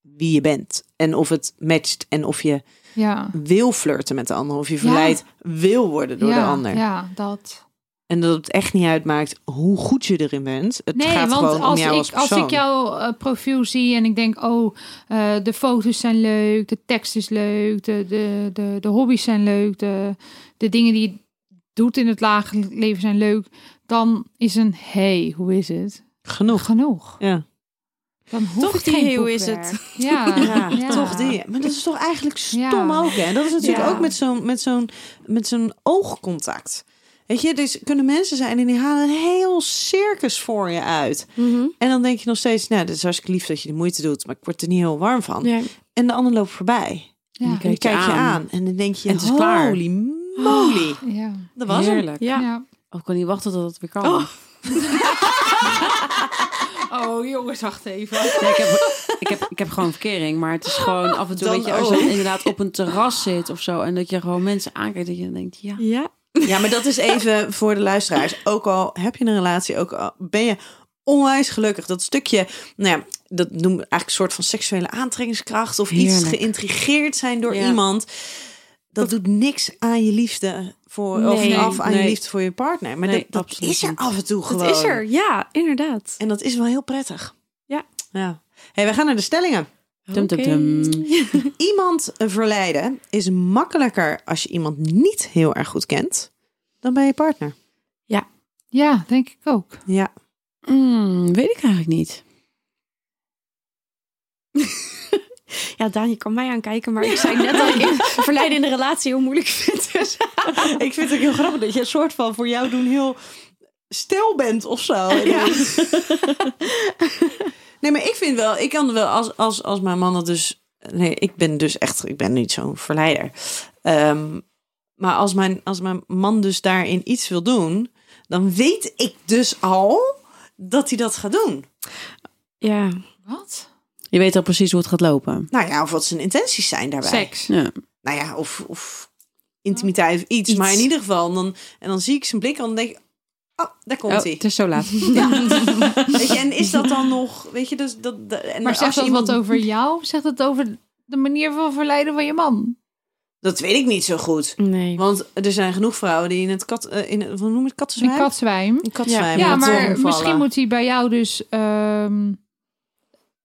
wie je bent en of het matcht en of je
Ja.
wil flirten met de ander, of je
Ja.
verleid wil worden door
ja,
de ander.
Ja, dat.
En dat het echt niet uitmaakt hoe goed je erin bent. Het
nee,
gaat
want
gewoon om
als,
jou
ik,
als
als
persoon.
ik jouw eh, profiel zie en ik denk, oh, eh, de foto's zijn leuk, de tekst is leuk, de, de, de, de hobby's zijn leuk, de, de dingen die je doet in het lage leven zijn leuk, dan is een hey, hoe is het?
Genoeg.
Genoeg.
Ja.
Dan hoeft
Toch
het
die
geen
hey, hoe is
boekwerk.
het?
*laughs*
Ja,
Ja,
ja.
toch die. Maar dat is toch eigenlijk stom
Ja.
ook, hè? Dat is natuurlijk
Ja.
ook met zo'n met zo'n met zo'n oogcontact. Weet je, dus kunnen mensen zijn en die halen een heel circus voor je uit. En dan denk je nog steeds, nou, dat is hartstikke lief dat je de moeite doet, maar ik word er niet heel warm van.
Ja.
En de ander loopt voorbij.
Ja.
En die kijk je aan. En dan denk je,
En het is klaar.
holy moly.
Ja.
Dat was hem.
Heerlijk.
Ja.
Ja.
Oh, ik kan niet wachten tot het weer kan.
Oh.
Oh, jongens, wacht even.
Nee, ik, heb, ik, heb, ik heb gewoon verkering, maar het is gewoon af en toe,
Dan
weet je, als je
ook.
dan inderdaad op een terras zit of zo en dat je gewoon mensen aankijkt, dat je dan denkt, ja.
Ja.
Ja, maar dat is even voor de luisteraars. Ook al heb je een relatie, ook al ben je onwijs gelukkig. Dat stukje, nou ja, dat noemen we eigenlijk een soort van seksuele aantrekkingskracht. Of iets
Heerlijk.
geïntrigeerd zijn door
Ja.
iemand. Dat doet niks aan je liefde voor,
Nee,
of af aan je
nee.
liefde voor je partner. Maar
Nee,
dat, dat
absoluut
is er
niet.
af en toe
Dat
gewoon.
is er. Ja, inderdaad.
En dat is wel heel prettig.
Ja.
ja. hey, we gaan naar de stellingen.
Dum, dum, dum.
Iemand verleiden is makkelijker als je iemand niet heel erg goed kent dan bij je partner.
Ja, denk ik ook.
Ja.
Mm, weet ik eigenlijk niet.
*laughs* Ja, Daan, je kan mij aankijken, *laughs* maar ik zei net dat ik in- verleiden in de relatie heel moeilijk vind. Dus
Ik vind het ook heel grappig dat je een soort van voor jou doen heel stil bent of zo. *laughs* ineens. nee, maar ik vind wel, ik kan wel als, als, als mijn man dat dus. Nee, ik ben dus echt, ik ben niet zo'n verleider. Ehm, maar als mijn, als mijn man dus daarin iets wil doen, dan weet ik dus al dat hij dat gaat doen.
ja.
Wat?
Je weet al precies hoe het gaat lopen.
Nou ja, of wat zijn intenties zijn daarbij.
Seks.
Ja.
nou ja, of, of intimiteit of iets, Maar in ieder geval, dan, en dan zie ik zijn blik en dan denk ik, oh, daar komt
Oh,
hij.
het is zo laat.
Weet je, en is dat dan nog, weet je, dus dat... dat- en
Maar
als
zegt
je
dat
iemand-
wat over jou? Zegt het over de manier van verleiden van je man?
Dat weet ik niet zo goed.
Nee.
Want er zijn genoeg vrouwen die in het kat... eh, In, het- hoe noem je het? Katzenzwijm?
Een katzwijm.
Een katzwijm.
Ja,
dat
maar
omvallen.
misschien moet hij bij jou dus ehm,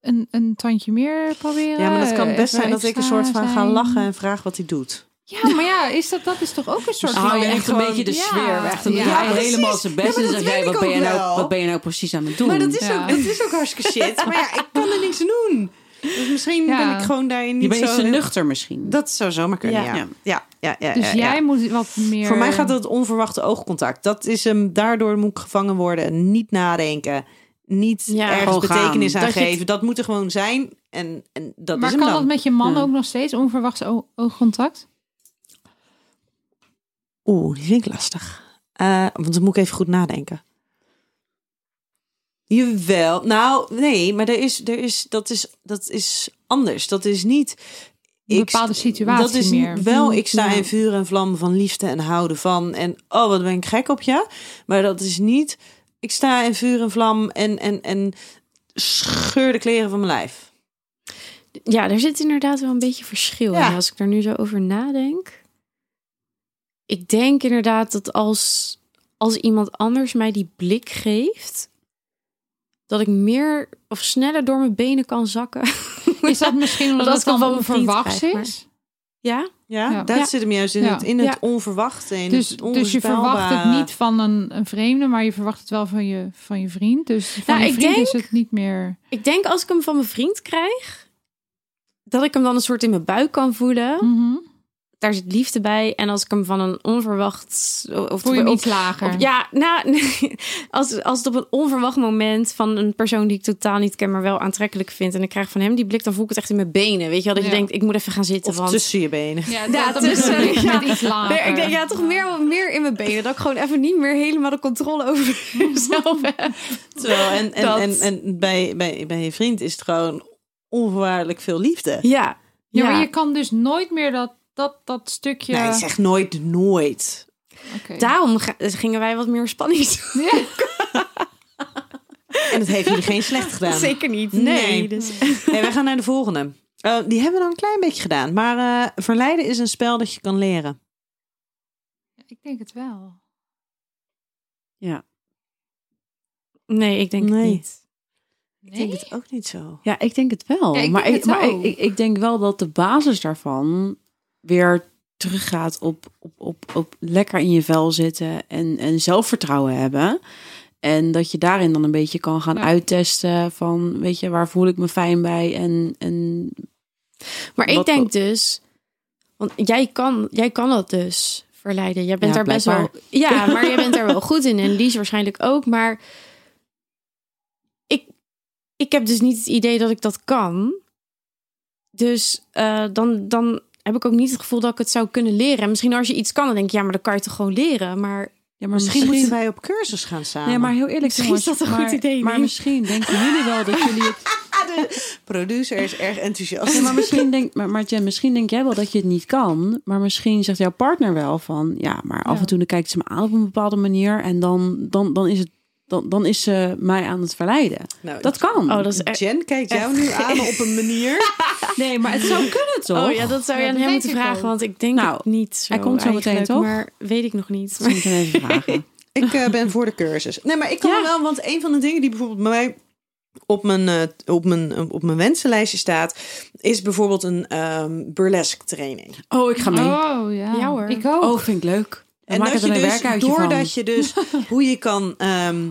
een, een tandje meer proberen.
Ja, maar dat kan
eh,
best zijn
even
dat ik een
extra
soort van ga
zijn.
lachen en vraag wat hij doet.
Ja, maar ja, is dat, dat is toch ook een soort
Dan
van...
hou je echt een
gewoon-
beetje de
Ja,
sfeer weg. Dan doe je
ja.
hij helemaal zijn best
Ja,
en
maar dat
dan zeg jij,
weet
wat
ik
ben, je
ook
nou,
wel.
wat ben je nou precies aan het doen?
Maar dat is,
Ja.
ook, dat is ook hartstikke shit. Maar ja, ik kan er niks aan doen. Dus misschien
Ja.
ben ik gewoon daarin
je
niet
bent iets
zo...
te nuchter misschien.
Dat zou zomaar kunnen, ja.
Ja.
Ja, ja, ja, ja,
Dus
ja.
jij moet wat meer...
Voor mij gaat dat onverwachte oogcontact. Dat is hem, daardoor moet ik gevangen worden. Niet nadenken. Niet
Ja,
ergens
gewoon gaan.
betekenis aan
Dat je het-
geven. Dat moet er gewoon zijn. En, en dat
maar
is
kan
hem dan.
dat met je man
Ja.
ook nog steeds onverwachts o-
*laughs*
oogcontact?
Oeh, die vind ik lastig. Eh, want dan moet ik even goed nadenken. Jawel. Nou, nee, maar er is, er is, dat, is, dat is anders. Dat is niet...
Een bepaalde situatie
dat is
meer. Mm,
wel, ik sta in vuur en vlam van liefde en houden van. En oh, wat ben ik gek op je. Maar dat is niet, ik sta in vuur en vlam en, en, en scheur de kleren van mijn lijf.
Ja, er zit inderdaad wel een beetje verschil
Ja.
in als ik daar nu zo over nadenk. Ik denk inderdaad dat als, als iemand anders mij die blik geeft, dat ik meer of sneller door mijn benen kan zakken.
*laughs* Is dat misschien omdat
Want
dat
als ik
dan
dan van mijn vriend
onverwachts
krijg, maar-
is?
*laughs* Ja?
Ja,
Ja.
dat
Ja.
zit hem juist in
Ja.
het, in het
Ja.
onverwachte. In
Dus,
het
dus je verwacht het
onvoorspelbare.
niet van een, een vreemde, maar je verwacht het wel van je, van je vriend. Dus van
Nou,
je
ik
vriend
denk-
is het niet meer...
Ik denk als ik hem van mijn vriend krijg, dat ik hem dan een soort in mijn buik kan voelen.
Mhm.
Daar zit liefde bij. En als ik hem van een onverwacht... Of
Voel je hem
of-
iets lager?
Of- ja, nou, *laughs* nee. als, als het op een onverwacht moment van een persoon die ik totaal niet ken, maar wel aantrekkelijk vind. En ik krijg van hem die blik, dan voel ik het echt in mijn benen. Weet je wel, dat je
Ja.
denkt, ik moet even gaan zitten.
Of
want...
tussen je benen.
Ja,
Ja,
dat is
tussen- *laughs*
met
ja.
iets lager.
Nee, ik denk, ja, toch meer, meer in mijn benen. Dat ik gewoon even niet meer helemaal de controle over mezelf heb.
Terwijl, en, en,
Dat-
en, en bij, bij, bij je vriend is het gewoon onvoorwaardelijk veel liefde.
Ja.
Ja, maar
Ja.
je kan dus nooit meer dat, dat, dat stukje...
Nee, zeg nooit nooit.
Oké.
Daarom ga- gingen wij wat meer spanning zoeken.
Ja.
En dat heeft jullie geen slecht gedaan.
*laughs* Zeker niet. Nee.
Nee.
Dus.
Hey, we gaan naar de volgende. Eh, die hebben we dan een klein beetje gedaan. Maar eh, verleiden is een spel dat je kan leren.
Ik denk het wel.
Nee, ik denk
Nee.
het niet.
Ik denk het ook niet zo.
Ja, ik denk het wel.
Ja, ik
maar
denk
ik,
het
maar
ook.
ik, ik, ik denk wel dat de basis daarvan weer teruggaat op, op, op, op lekker in je vel zitten en, en zelfvertrouwen hebben. En dat je daarin dan een beetje kan gaan
Ja.
uittesten van, weet je, waar voel ik me fijn bij en, en
Maar ik
Wat-
denk dus, want jij kan, jij kan dat dus verleiden. Jij bent
Ja,
daar best wel.
blijkbaar. *laughs*
Ja, maar jij bent daar wel goed in en Lies waarschijnlijk ook. Maar ik, ik heb dus niet het idee dat ik dat kan. Dus eh, dan, dan heb ik ook niet het gevoel dat ik het zou kunnen leren. En misschien als je iets kan, dan denk je ja, maar dat kan je toch gewoon leren. Maar
ja, maar
Misschien, moeten wij op cursus gaan samen.
Nee, maar heel eerlijk,
Misschien is dat
jongens,
een goed
maar-
idee,
Maar
Lien.
misschien denken jullie wel dat jullie het
Producer is erg enthousiast.
*laughs*
Ja, maar misschien denk, maar, maar Jen, misschien denk jij wel dat je het niet kan. Maar misschien zegt jouw partner wel van ja, maar af
Ja.
en toe dan kijkt ze me aan op een bepaalde manier. En dan, dan, dan is het. Dan, dan is ze mij aan het verleiden.
Nou,
Dat kan.
oh, dat is echt.
Jen kijkt jou nu aan op
*laughs*
een manier.
*laughs* nee, maar het zou kunnen toch?
Oh ja, dat zou je
Ja,
aan
dat
hem
weet
moeten
ik
vragen,
ook.
want ik denk
Nou,
het niet zo.
hij komt zo meteen,
eigenlijk,
toch?
Maar weet ik nog niet.
Misschien kunnen we even vragen.
Ik eh, ben voor de cursus. Nee, maar ik kan
Ja.
er wel, want een van de dingen die bijvoorbeeld bij mij op mijn, eh, op mijn, op mijn wensenlijstje staat, is bijvoorbeeld een ehm burlesque training.
Oh, ik ga mee. Oh,
Oh ja.
Ja, hoor.
Ik ook.
vind ik leuk. En maak
dat
het er een
dus,
werkuitje van.
doordat je
*laughs*
dus hoe je kan, ehm,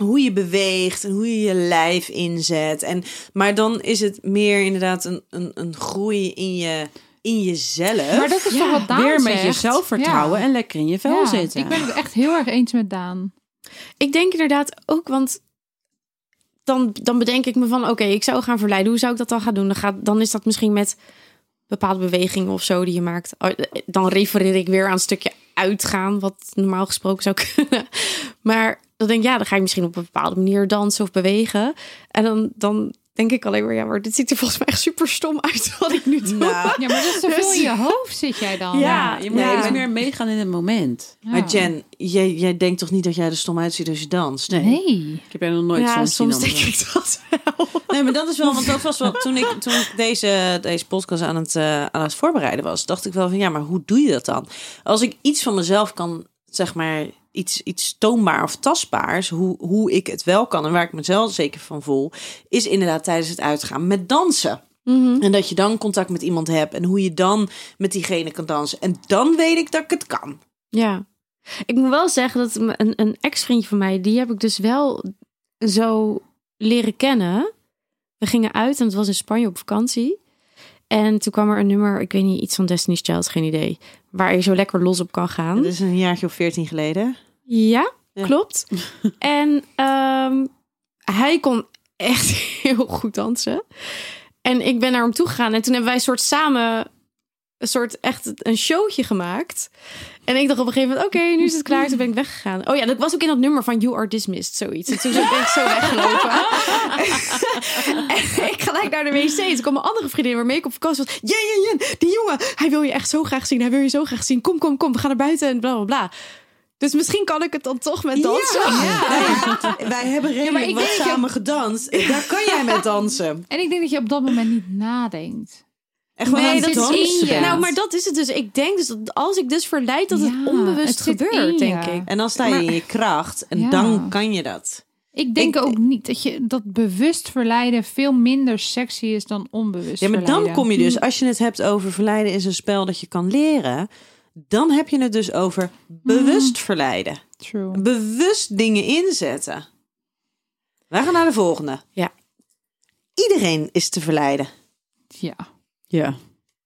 hoe je beweegt en hoe je je lijf inzet. En, maar dan is het meer inderdaad een, een, een groei in, je, in jezelf.
Maar dat is toch wat Daan
Weer met
zegt?
je zelfvertrouwen
Ja.
en lekker in je vel
Ja,
zitten.
Ik ben het echt heel erg eens met Daan.
Ik denk inderdaad ook, want dan, dan bedenk ik me van... oké, ik zou gaan verleiden. Hoe zou ik dat dan gaan doen? Dan, gaat, dan is dat misschien met bepaalde bewegingen of zo die je maakt. Oh, Dan refereer ik weer aan een stukje uitgaan... wat normaal gesproken zou *laughs* kunnen. Maar dan denk ik, ja, dan ga ik misschien op een bepaalde manier dansen of bewegen. En dan, dan denk ik alleen maar... ja, maar dit ziet er volgens mij echt super stom uit wat ik
*laughs*
nu doe.
Nou,
Ja, maar dat is te veel in je hoofd zit jij dan.
ja, je moet
Ja.
iets meer meegaan in het moment.
Ja.
Maar Jen, jij, jij denkt toch niet dat jij er stom uitziet als je danst?
Nee.
Ik heb er nog nooit
Ja,
zo'n
soms
zin
denk
om te-
ik dat wel. *laughs*
Nee, maar dat is wel, want dat was wel toen ik, toen ik deze, deze podcast aan het, eh, aan het voorbereiden was, dacht ik wel van ja, maar hoe doe je dat dan? Als ik iets van mezelf kan, zeg maar, iets, iets toonbaar of tastbaars, hoe, hoe ik het wel kan en waar ik mezelf zeker van voel, is inderdaad tijdens het uitgaan met dansen.
Mhm.
En dat je dan contact met iemand hebt en hoe je dan met diegene kan dansen. En dan weet ik dat ik het kan.
Ja. Ik moet wel zeggen dat m- een, een ex-vriendje van mij, die heb ik dus wel zo leren kennen. We gingen uit en het was in Spanje op vakantie. En toen kwam er een nummer, ik weet niet, iets van Destiny's Child, geen idee. Waar je zo lekker los op kan gaan.
Dat is een jaartje of veertien geleden.
Ja,
dus- Ja.
klopt. en ehm, hij kon echt *laughs* heel goed dansen. En ik ben naar hem toe gegaan. En toen hebben wij een soort samen een soort echt een showtje gemaakt. En ik dacht op een gegeven moment, oké, nu is het klaar. Toen ben ik weggegaan. Oh ja, dat was ook in dat nummer van You Are Dismissed, zoiets. En toen ben ik zo weggelopen. *laughs* en ik gelijk naar de wc. Toen kwam mijn andere vriendin waarmee ik op vakantie was. Jen, Jen, Jen, die jongen, hij wil je echt zo graag zien. Hij wil je zo graag zien. Kom, kom, kom, we gaan naar buiten en bla, bla, bla. Dus misschien kan ik het dan toch met dansen.
Wij, wij hebben redelijk
Ah. ik
wat
denk-
samen gedanst. Daar kan jij met dansen.
En ik denk dat je op dat moment niet nadenkt.
Echt wel
Nee,
aan het
dat is
dansen
in je.
bent.
Nou, maar dat is het dus. Ik denk dus dat als ik dus verleid, dat
Ja,
het onbewust
het zit in
gebeurt,
je.
denk ik.
En dan sta je in je kracht en
Ja.
dan kan je dat.
Ik denk
Ik-
ook niet dat je dat bewust verleiden veel minder sexy is dan onbewust
Ja, maar dan
verleiden. Hm.
kom je dus, als je het hebt over verleiden is een spel dat je kan leren, dan heb je het dus over
Hm.
bewust verleiden.
True.
Bewust dingen inzetten. Wij gaan naar de volgende.
Ja.
Iedereen is te verleiden.
Ja.
Ja.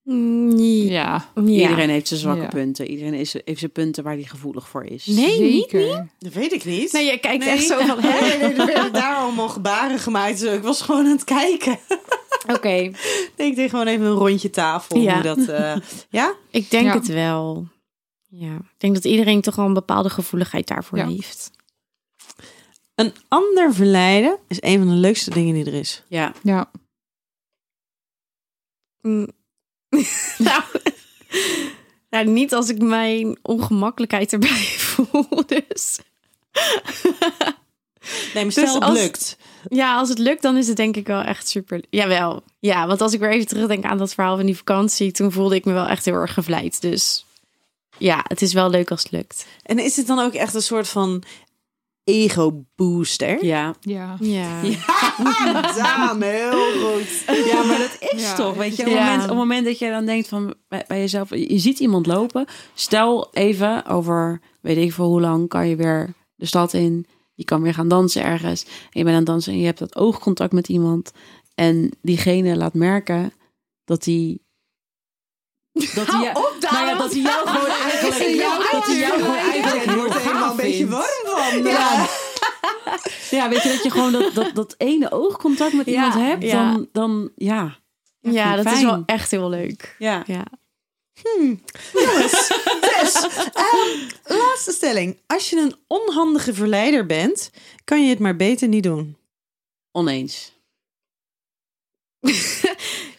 Mm, Nee.
Ja.
Iedereen heeft zijn zwakke
Ja.
punten. Iedereen is, heeft zijn punten waar hij gevoelig voor is.
Nee, niet.
Zeker.
Dat weet ik niet.
Nee, je Nou, kijkt echt zo van, hè?
Nee, nee, *laughs* er werden daar allemaal gebaren gemaakt. dus Ik was gewoon aan het kijken. *laughs*
Oké.
Nee, ik deed gewoon even een rondje tafel.
Ja.
Hoe dat, eh, ja?
*laughs* Ik denk
Ja.
het wel. Ja. Ik denk dat iedereen toch wel een bepaalde gevoeligheid daarvoor
Ja.
heeft.
Een ander verleiden is een van de leukste dingen die er is.
Ja.
Ja.
Mm. *laughs* nou, *laughs* nou, niet als ik mijn ongemakkelijkheid erbij *laughs* voel. Dus
Nee, maar
Dus
stel het
als-
lukt.
ja, als het lukt, dan is het denk ik wel echt super. Jawel. Ja, want als ik weer even terugdenk aan dat verhaal van die vakantie, toen voelde ik me wel echt heel erg gevleid. Dus ja, het is wel leuk als het lukt.
En is het dan ook echt een soort van ego-booster.
Ja.
Ja.
Ja.
Daan, heel goed.
ja, maar dat is
Ja.
toch, weet je. Op,
Ja.
het moment, op het moment dat je dan denkt van bij, bij jezelf, je ziet iemand lopen. Stel even over, weet ik voor hoe lang, kan je weer de stad in. Je kan weer gaan dansen ergens. En je bent aan het dansen en je hebt dat oogcontact met iemand. En diegene laat merken dat hij... Dat hij, nou ja, dat hij jou gewoon eigenlijk... dat hij jou gewoon eigenlijk heel
wordt er helemaal een
gaaf
beetje
vindt.
warm van.
Ja. ja, weet je dat je gewoon dat, dat, dat ene oogcontact met iemand hebt,
ja.
dan, dan ja.
Ja, dat is
fijn.
wel echt heel leuk.
Ja.
Ja.
Laatste stelling. Als je een onhandige verleider bent, kan je het maar beter niet doen.
Oneens.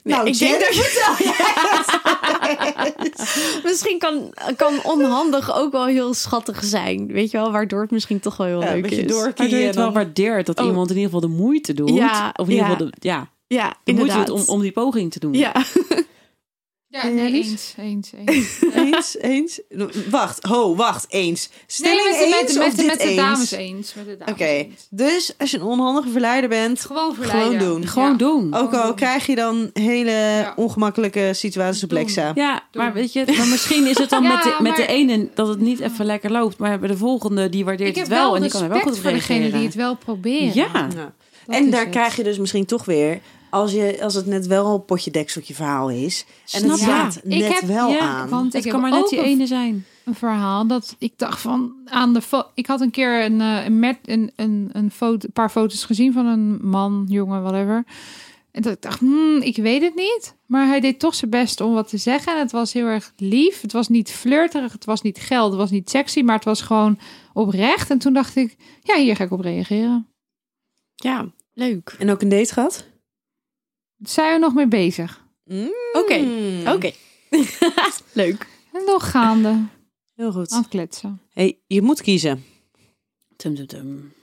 nou,
ik denk
Jen,
dat
vertel
Misschien kan, kan onhandig ook wel heel schattig zijn. Weet je wel, waardoor het misschien toch wel heel
Ja, een
leuk
beetje
is.
door.
Waardoor je het wel
dan-
waardeert dat
Oh.
iemand in ieder geval de moeite doet.
Ja,
of in ieder
ja.
geval de, ja,
Ja,
de moeite
inderdaad.
doet om, om die poging te doen.
Ja. *laughs*
Eh,
Ja, nee,
Eens?
eens,
*laughs*
eens, eens.
Eens, eens. Wacht, ho, wacht, eens. Stelling
nee, met de, met,
eens
de-
of
met, de-
dit
met de
eens?
dames eens. Met de dames
Oké,
eens.
dus als je een onhandige verleider bent,
Gewoon verleiden.
gewoon doen.
Gewoon
Ja. Oh.
doen.
Ook al
Mm-hmm.
krijg je dan hele ongemakkelijke situaties op
Doen.
Lexa.
Ja,
Doen.
maar weet je, maar misschien is het dan
*laughs* Ja,
met, de, met de
maar-
ene dat het niet even lekker loopt. Maar bij de volgende, die waardeert
Ik heb
het wel.
wel
en die kan er
respect
wel goed op
voor degene die
reageren.
het wel proberen.
Ja,
Ja.
Dat
en
is
daar
het.
krijg je dus misschien toch weer, als, je, als het net wel een potje dekseltje verhaal is. en het
Snap je?
slaat net
Ik heb-
wel
ja,
aan.
Want
het
ik
kan
heb
maar net
ook
die
een-
ene zijn.
een verhaal dat ik dacht van aan de fo- ik had een keer een, eh, een, met, een, een, een foto, paar foto's gezien van een man, jongen, whatever. En dat ik dacht, hmm, ik weet het niet. Maar hij deed toch zijn best om wat te zeggen. En het was heel erg lief. Het was niet flirterig. Het was niet geld. Het was niet sexy. Maar het was gewoon oprecht. En toen dacht ik, ja, hier ga ik op reageren.
Ja, leuk.
En ook een date gehad?
Zijn we nog mee bezig?
Oké.
Mm.
Oké. *laughs* leuk.
En nog gaande.
Heel
Aan
goed.
het kletsen.
Hey, je moet kiezen.
Tum, tum, tum.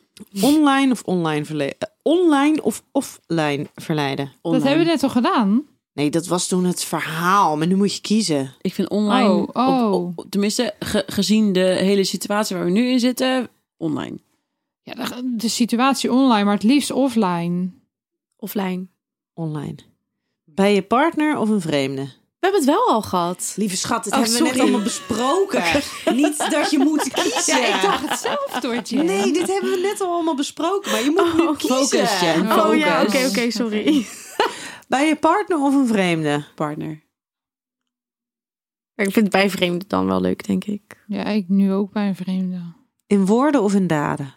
Online of online verle- eh, Online of offline verleiden?
Online.
Dat hebben we net al gedaan.
Nee, dat was toen het verhaal, maar nu moet je kiezen.
Ik vind online,
Oh,
op-
oh.
op- op- tenminste ge- gezien de hele situatie waar we nu in zitten, online.
Ja, de, de situatie online, maar het liefst offline.
Offline.
Online. Bij je partner of een vreemde?
We hebben het wel al gehad.
Lieve schat, dit
Oh,
hebben we net
sorry.
allemaal *laughs* besproken. Niet dat je moet kiezen.
hetzelfde, Doortje.
Nee, dit hebben we net al allemaal besproken, maar je moet nu kiezen.
Focus, Jen.
Oh,
Oh ja, oké,
Focus.
oké, sorry.
Bij je partner of een vreemde?
Partner.
Maar *laughs* ik vind het bij vreemden dan wel leuk, denk ik.
Ja, ik nu ook bij een vreemde.
In woorden of in daden?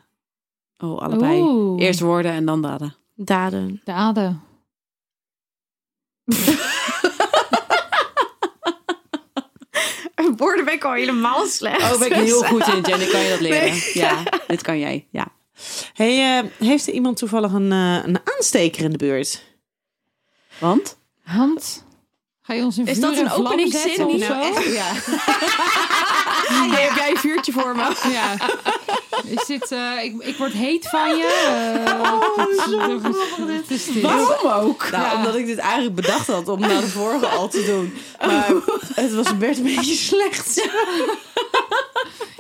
Oh, allebei.
Oeh.
Eerst woorden en dan daden.
Daden.
Daden.
Woorden ben ik al helemaal slecht.
Oh, ben ik
*laughs*
heel goed in, Jen. Ik kan je dat leren. Ja, dit kan jij. Ja.
Hey, eh, heeft er iemand toevallig een, eh, een aansteker in de buurt?
Want?
Hand. Ga je ons in
Is
vuur
dat
en
een
vlam
openingszin?
zetten of
Niet
zo?
ja. Oh, Nee, heb jij een vuurtje voor me?
*laughs* Ja. Is dit, eh, ik, ik word heet van je. eh, dat is dit.
Waarom ook? Nou,
Ja.
omdat ik dit eigenlijk bedacht had om naar de vorige al te doen. *laughs* Maar het was, werd een beetje *laughs* slecht.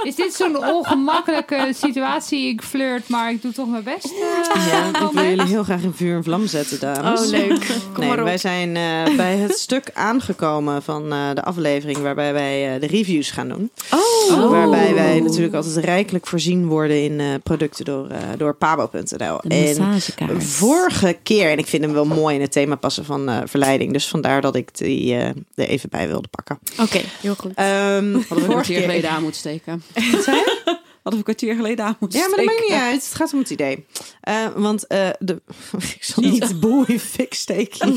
Is dit zo'n ongemakkelijke situatie? Ik flirt, maar ik doe toch mijn best. eh,
*laughs*
Ja, ik wil
moment?
jullie heel graag in vuur en vlam zetten, dames.
Oh, leuk.
*laughs*
Kom
nee,
maar op.
wij zijn eh, bij
*laughs*
het stuk aangekomen van eh, de aflevering waarbij wij eh, de reviews gaan doen.
Oh.
Waarbij wij natuurlijk altijd rijkelijk voorzien worden in eh, producten door, eh, door pabo.nl. En
massagekaart.
vorige keer, en ik vind hem wel mooi in het thema passen van eh, verleiding, dus vandaar dat ik die eh, er even bij wilde pakken.
*laughs* Oké, heel goed.
Ehm,
Hadden we een
vorige
kwartier
keer
geleden aan moeten steken. *laughs* Hadden we een kwartier geleden aan moeten
Ja, maar dat
steken.
maakt niet uit. Het gaat om het idee. Eh, want eh, de... *laughs* ik zal niet boel in fik steken.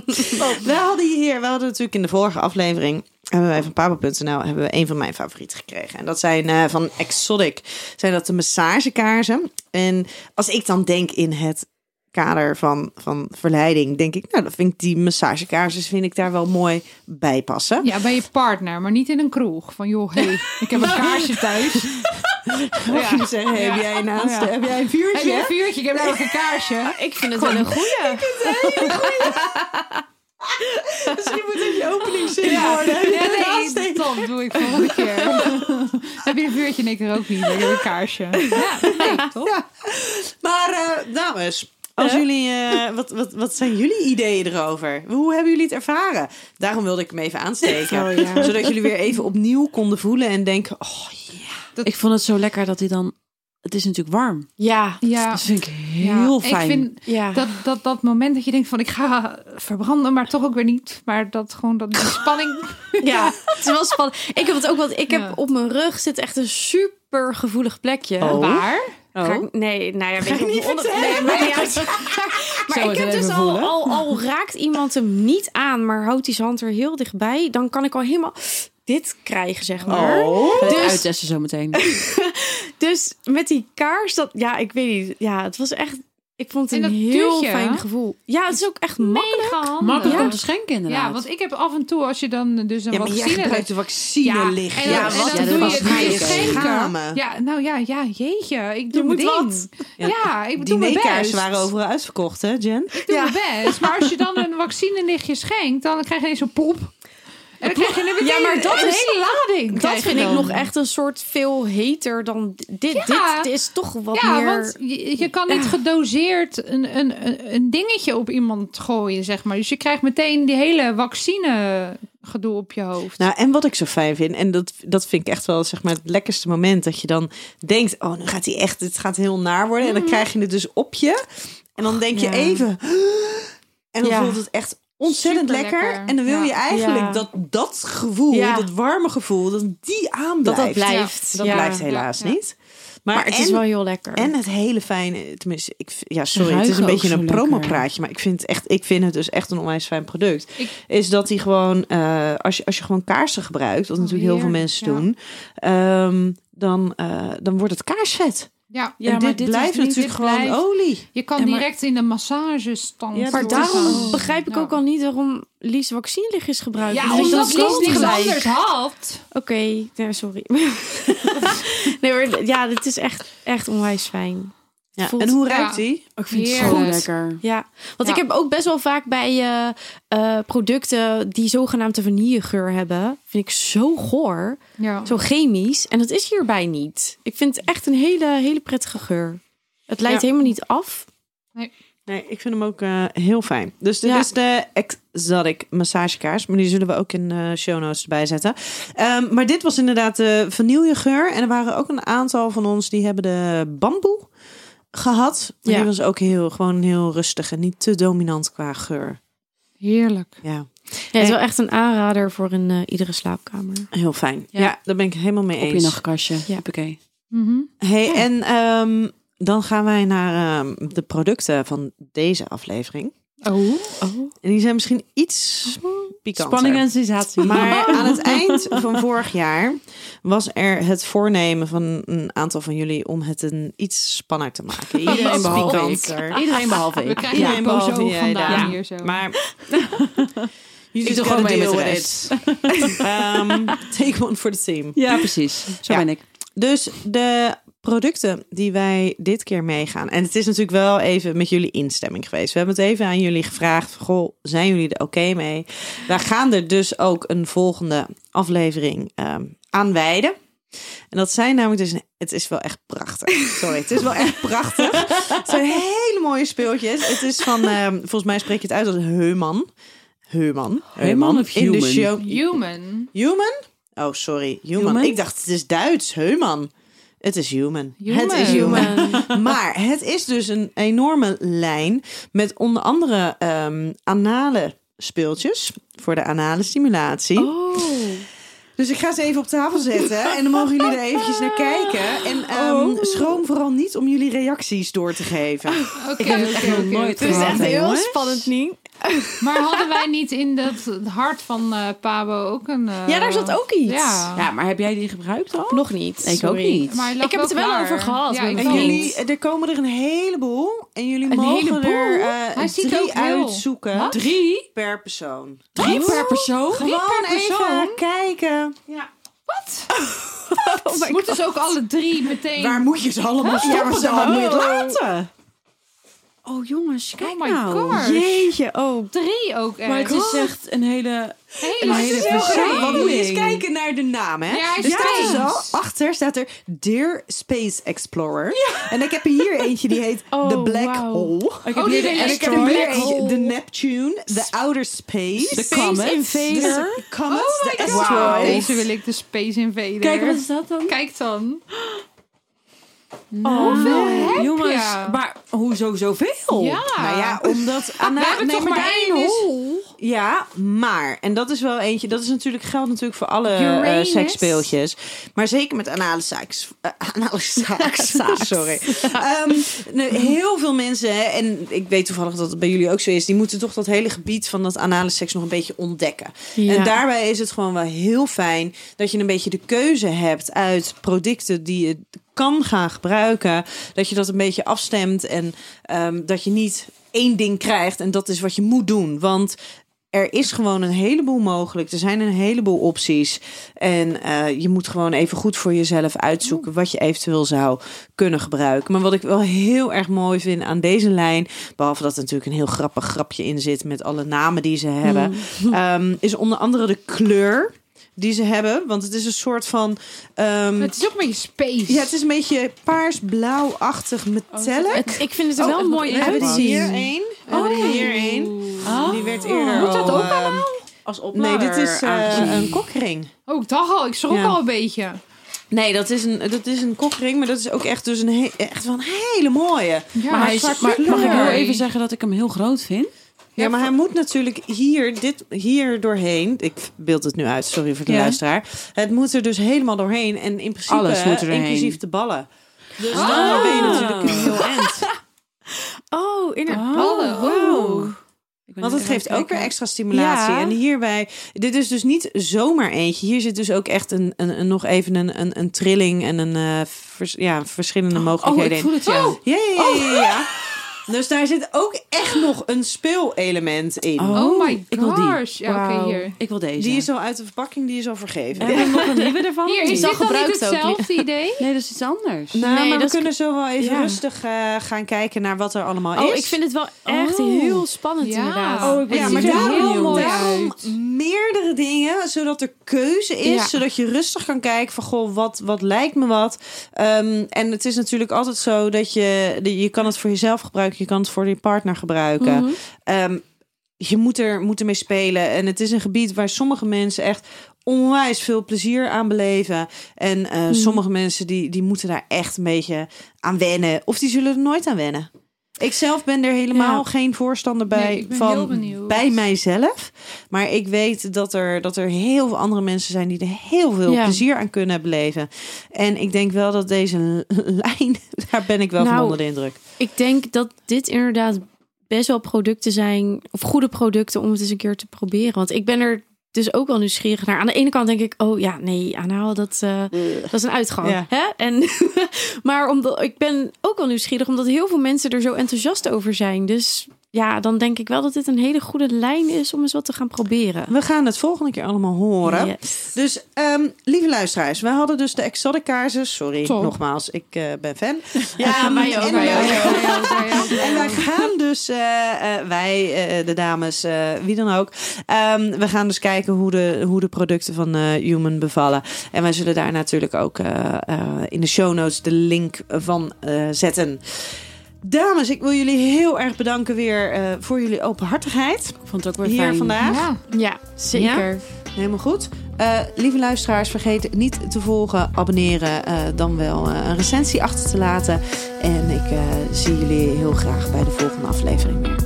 *laughs*
we hadden hier, we hadden natuurlijk in de vorige aflevering... hebben wij van Pabo.nl hebben we een van mijn favorieten gekregen. En dat zijn eh, van Exotic. Zijn dat de massagekaarsen. En als ik dan denk in het kader van, van verleiding... denk ik, nou, dat vind ik die massagekaarsen... vind ik daar wel mooi bij passen.
Ja, bij je partner, maar niet in een kroeg. Van joh, hey,
*laughs*
ik heb een kaarsje thuis.
Mag je zeggen,
Ja.
heb jij een aanste-
Ja.
Heb jij een
Heb
vuurtje?
je een vuurtje? Ik heb namelijk een kaarsje.
Ik vind het wel een goeie.
Misschien moet het je openingszin worden.
*laughs* Ja, nee, dat doe ik volgende keer. Heb je een vuurtje en ik rook niet. Ik heb een kaarsje. Ja, nee,
*laughs*
toch?
Maar eh, dames, als jullie, eh, wat, wat, wat zijn jullie ideeën erover? Hoe hebben jullie het ervaren? Daarom wilde ik hem even aansteken.
Oh,
Zodat jullie weer even opnieuw konden voelen en denken... Oh,
Ik vond het zo lekker dat hij dan... Het is natuurlijk warm.
Ja,
Ja.
Dat vind ik heel
Ja,
fijn.
Ik vind
ja.
dat, dat, dat moment dat je denkt van ik ga verbranden, maar toch ook weer niet. Maar dat gewoon dat die *laughs* spanning.
*laughs* Ja, het is wel spannend. Ik heb het ook, want ik heb
Ja.
op mijn rug zit echt een super gevoelig plekje.
Waar?
Ga ik- nee, nou ja, weet ik niet onder, Nee, maar niet uit. maar
Zou
ik
het
heb
even
dus al,
voelen?
al, al raakt iemand hem niet aan, maar houdt die zijn hand er heel dichtbij, dan kan ik al helemaal dit krijgen, zeg maar.
Dus...
Dus-
Uittesten zometeen.
*laughs* Dus met die kaars, dat, ja, ik weet niet. Ja, het was echt, ik vond het
En
een
dat
heel
duurt je, hè?
fijn gevoel. Ja, het is ook echt makkelijk.
Mega handig.
Makkelijk
ja.
om te schenken inderdaad.
Ja, want ik heb af en toe als je dan dus een
ja, maar jij
vaccine
gebruikt de
ja,
vaccine licht.
en dan,
Ja,
en
wat-
dan
ja,
doe
dat was
je, doe
mij
je
ook.
schenken.
Schamen.
Ja, nou ja, ja, jeetje, ik doe
moet
mijn ding.
wat.
Ja, ik
Die
doe mijn
nekaars
best.
waren overal uitverkocht, hè Jen?
Ik doe mijn best, maar als je dan een vaccinelichtje schenkt, dan krijg je ineens een pop. En dan krijg je meteen
Ja, maar dat
een
is-
hele lading. krijg
Dat
je
vind ik
dan.
nog echt een soort veel heter dan dit.
Ja.
Dit is toch wat
Ja,
meer...
want je, je kan niet gedoseerd een, een, een- een dingetje op iemand gooien, zeg maar. Dus je krijgt meteen die hele vaccine gedoe op je hoofd.
Nou, en wat ik zo fijn vind, en dat, dat vind ik echt wel zeg maar, het lekkerste moment, dat je dan denkt, oh, nu gaat hij echt, het gaat heel naar worden. En dan krijg je het dus op je. En dan denk je
Mhm. Ja.
even, en dan
Ja.
voelt het echt ontzettend lekker.
Superlekker.
En dan wil je
Ja.
eigenlijk
Ja.
dat dat gevoel,
Ja.
dat warme gevoel, dat die aanblijft.
dat blijft.
Dat
ja.
blijft helaas
Ja.
niet. Maar,
Maar het
en,
is wel heel lekker.
en het hele fijne, tenminste, ik, v- ja, sorry, het is
ruiken
een
ook
beetje
zo
een
lekker.
promopraatje, maar ik vind, het echt, ik vind het dus echt een onwijs fijn product.
Ik-
Is dat die gewoon, eh, als, je, als je gewoon kaarsen gebruikt, wat
Oh,
natuurlijk heel veel
heerlijk,
mensen
ja.
doen, ehm, dan, eh, dan wordt het kaarsvet.
Ja,
en dit, blijft natuurlijk gewoon olie.
Je kan
Ja, maar-
direct in de massagestand.
Ja,
Maar
Dat
daarom
is-
begrijp ik
Ja.
ook al niet waarom Lies vaccinlichtjes gebruikt.
Ja,
Dus
omdat
dat
Lies
klopt
niks
gelijk.
anders had.
Oké, nee, sorry. *laughs* nee, maar ja, dit is echt, echt onwijs fijn.
Ja.
Voelt-
En hoe ruikt
ja.
die?
ik vind het zo
Heerlijk.
lekker.
Ja, want
Ja.
ik heb ook best wel vaak bij eh, eh, producten die zogenaamd een vanillegeur hebben, vind ik zo goor,
Ja.
zo chemisch. En dat is hierbij niet. Ik vind het echt een hele, hele prettige geur. Het leidt
Ja.
helemaal niet af.
Nee, ik vind hem ook eh, heel fijn. Dus dit
Ja.
is de Exotic massagekaars. Maar die zullen we ook in eh show notes erbij zetten. Ehm, maar dit was inderdaad de vanillegeur. En er waren ook een aantal van ons die hebben de bamboe gehad. Maar
Ja.
Die was ook heel, gewoon heel rustig en niet te dominant qua geur.
Heerlijk.
Ja,
Ja, het is wel echt een aanrader voor in eh, iedere slaapkamer.
heel fijn. Ja,
Ja.
daar ben ik het helemaal mee
Op je
eens.
nachtkastje. Ja. Hoppakee.
Mhm.
Hey, en ehm, dan gaan wij naar ehm, de producten van deze aflevering.
Oh.
En die zijn misschien iets pikanter.
Spanning en sensatie.
*laughs*
*laughs*
Maar aan het eind van vorig jaar was er het voornemen van een aantal van jullie om het een iets spannender te maken.
Iedereen
Iets
behalve ik.
pikanter.
Iedereen
*laughs*
behalve
We
ik.
krijgen
Ja,
een
behalve
bozo
jij
vandaan
daar.
hier zo.
*laughs*
Maar *laughs*
doe
jullie
gewoon mee met de *laughs*
Ehm, take one for the team.
Ja, precies. Zo
Ja.
ben ik.
Dus de producten die wij dit keer meegaan. En het is natuurlijk wel even met jullie instemming geweest. We hebben het even aan jullie gevraagd. van, Goh, zijn jullie er oké mee? Wij gaan er dus ook een volgende aflevering ehm, aan wijden. En dat zijn namelijk dus... Het is wel echt prachtig. Sorry, het is wel echt prachtig. Het zijn hele mooie speeltjes. Het is van... ehm, volgens mij spreek je het uit als Heuman. Heuman.
Heuman of
In de
Human?
show.
Human.
Human? Oh, sorry. Human.
Human?
Ik dacht, het is Duits. Heuman. Het is human.
Human.
Het is human. *laughs* maar het is dus een enorme lijn met onder andere ehm, anale speeltjes voor de anale stimulatie. Dus ik ga ze even op tafel zetten en dan mogen jullie er eventjes naar kijken. En ehm, schroom vooral niet om jullie reacties door te geven.
Oké,
heb het
oké,
echt nog
oké,
nooit
oké.
Het is gehad. echt heel jongens.
spannend, niet?
Maar hadden wij niet in dat het hart van eh, Pabo ook een... eh,
Ja, daar zat ook iets.
Ja.
Ja, maar heb jij die gebruikt al?
Nog niet.
Ik ook
sorry.
niet.
Maar hij lag
Ik heb het
ook
er wel
daar.
over gehad
Ja,
met
ik
En
Klopt.
jullie, er komen er een heleboel. En jullie
Een
mogen
heleboel?
er eh,
Hij ziet
drie
ook heel.
uitzoeken
Drie?
per persoon.
Drie per persoon?
Gewoon
persoon?
even kijken.
Wat? Moeten ze ook alle drie meteen...
Waar moet je ze allemaal stoppen? Ja, maar zo moet je het laten.
Oh jongens, kijk
Oh my
nou.
gosh.
Jeetje, oh.
Drie ook echt.
Maar het is echt een hele...
hele,
het is heel
verzameling.
grappig.
Want moet je eens kijken naar de naam, hè?
Ja, hij
er staat er
staat
zo, achter staat er Dear Space Explorer. En ik heb hier eentje die
*laughs*
heet The Black
wauw.
Hole.
Ik
Oh,
heb hier
die
de
is
En ik heb hier
asteroid.
eentje, The Neptune, The Outer Space,
De Comet.
Invader, de Comets,
Oh my
de
god.
Asteroid.
Deze wil ik de Space Invader.
Kijk, wat is dat dan?
Kijk dan.
Oh,
hoeveel heb
jongens,
Dus,
je?
maar hoezo zoveel?
Ja.
Nou ja, omdat... Anna,
*laughs* We hebben
nee,
toch maar
daar
één
is-
hol.
Ja, maar, en dat is wel eentje, dat is natuurlijk, geldt natuurlijk voor alle eh
Uranus.
seksspeeltjes. Maar zeker met anale seks. eh,
*laughs*
anale seks, sorry. Ehm, nee, heel veel mensen, hè, en ik weet toevallig dat het bij jullie ook zo is, die moeten toch dat hele gebied van dat anale seks nog een beetje ontdekken. En daarbij is het gewoon wel heel fijn dat je een beetje de keuze hebt uit producten die je kan gaan gebruiken. Dat je dat een beetje afstemt en ehm, dat je niet één ding krijgt en dat is wat je moet doen. Want er is gewoon een heleboel mogelijk. Er zijn een heleboel opties. En eh, je moet gewoon even goed voor jezelf uitzoeken wat je eventueel zou kunnen gebruiken. Maar wat ik wel heel erg mooi vind aan deze lijn, behalve dat er natuurlijk een heel grappig grapje in zit met alle namen die ze hebben,
Hmm. *laughs*
ehm, is onder andere de kleur die ze hebben. Want het is een soort van. ehm,
Het is ook een beetje space.
ja, het is een beetje paars-blauw-achtig
Oh,
metallic.
Het- Oh. ik vind het er wel mooi
We hebben
uitzien.
hier één. We hebben die hier één. Die
Oh.
werd eerder
Oh. Moet dat
al,
ook
ehm,
Als
Nee,
oplader
dit is eh,
aangezien.
een kokring.
Oh, ik dacht al. Ik schrok
Ja.
al een beetje.
Nee, dat is, een, dat is een kokring, maar dat is ook echt, dus een he- echt wel een hele mooie.
Ja,
Maar, hij is,
zwart
maar mag ik
kleur.
heel even zeggen dat ik hem heel groot vind?
Ja, maar hij moet natuurlijk hier, dit, hier doorheen. Ik beeld het nu uit, sorry voor de
Ja.
luisteraar. Het moet er dus helemaal doorheen. En in principe, eh,
Alles moet er doorheen. Ah.
inclusief de ballen. Dus dan ben je natuurlijk een heel end.
Oh, inderdaad.
Ballen. wow.
Ik ben
Want
net
het
even
geeft
aan
ook weer
kijken.
extra stimulatie.
Ja.
En hierbij, dit is dus niet zomaar eentje. Hier zit dus ook echt een, een, een- nog even een, een, een trilling en een eh, vers- ja, verschillende
Oh,
mogelijkheden in.
ik voel het, ja.
Ja, ja, ja, ja, ja.
Oh.
Dus daar zit ook echt nog een speelelement in.
Oh, my
ik wil die.
gosh. Ja, oké,
Wauw.
hier.
Ik wil deze.
Die is al uit de verpakking, die is al vergeven. *laughs* Nou,
Hebben we nog een nieuwe ervan?
Hier, is
al
dit dan niet
gebruikt ook.
hetzelfde idee?
Nee, dat is iets anders.
Nou,
Nee,
maar we
dat-
kunnen zo wel even
Ja.
rustig eh, gaan kijken naar wat er allemaal is.
Oh, ik vind het wel echt
Oh.
heel spannend
Ja.
inderdaad.
Oh, ik
ja,
Het
maar
ziet er
daarom,
heel mooi
daarom meerdere dingen, zodat er keuze is,
Ja.
zodat je rustig kan kijken van goh, wat, wat lijkt me wat. Ehm, en het is natuurlijk altijd zo dat je, de- je kan het voor jezelf gebruiken, je kan het voor je partner gebruiken. Ehm, je moet er moet ermee spelen. En het is een gebied waar sommige mensen echt onwijs veel plezier aan beleven. En eh, sommige mensen die, die moeten daar echt een beetje aan wennen. Of die zullen er nooit aan wennen. Ik zelf ben er helemaal
Ja.
geen voorstander bij
Nee, ik ben heel
van
benieuwd.
bij mijzelf. Maar ik weet dat er, dat er heel veel andere mensen zijn die er heel veel
Ja.
plezier aan kunnen beleven. En ik denk wel dat deze *laughs* lijn, daar ben ik wel van
Nou,
onder de indruk.
Ik denk dat dit inderdaad best wel producten zijn, of goede producten om het eens een keer te proberen. Want ik ben er dus ook wel nieuwsgierig naar. Aan de ene kant denk ik, oh ja, nee, aanhaal, dat, eh, dat is een uitgang.
Ja.
Hè? En, *laughs* maar omdat, ik ben ook wel nieuwsgierig, omdat heel veel mensen er zo enthousiast over zijn. Dus ja, dan denk ik wel dat dit een hele goede lijn is om eens wat te gaan proberen.
We gaan het volgende keer allemaal horen.
Yes.
Dus ehm, lieve luisteraars, we hadden dus de exotic kaarsen. Sorry,
Top.
nogmaals, ik eh, ben fan.
Ja, mij ook,
en
mij
wij-
ook.
*laughs* En wij gaan dus, eh, eh, wij, eh, de dames, eh, wie dan ook. ehm, we gaan dus kijken hoe de, hoe de producten van eh, Human bevallen. En wij zullen daar natuurlijk ook eh, eh, in de show notes de link van eh, zetten. Dames, ik wil jullie heel erg bedanken weer eh, voor jullie openhartigheid
Ik vond het ook weer
hier
fijn.
vandaag.
Ja.
Ja, zeker.
Helemaal goed. Eh, lieve luisteraars, vergeet niet te volgen, abonneren, eh, dan wel eh, een recensie achter te laten. En ik eh, zie jullie heel graag bij de volgende aflevering weer.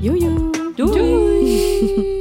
Joejoe.
Doei.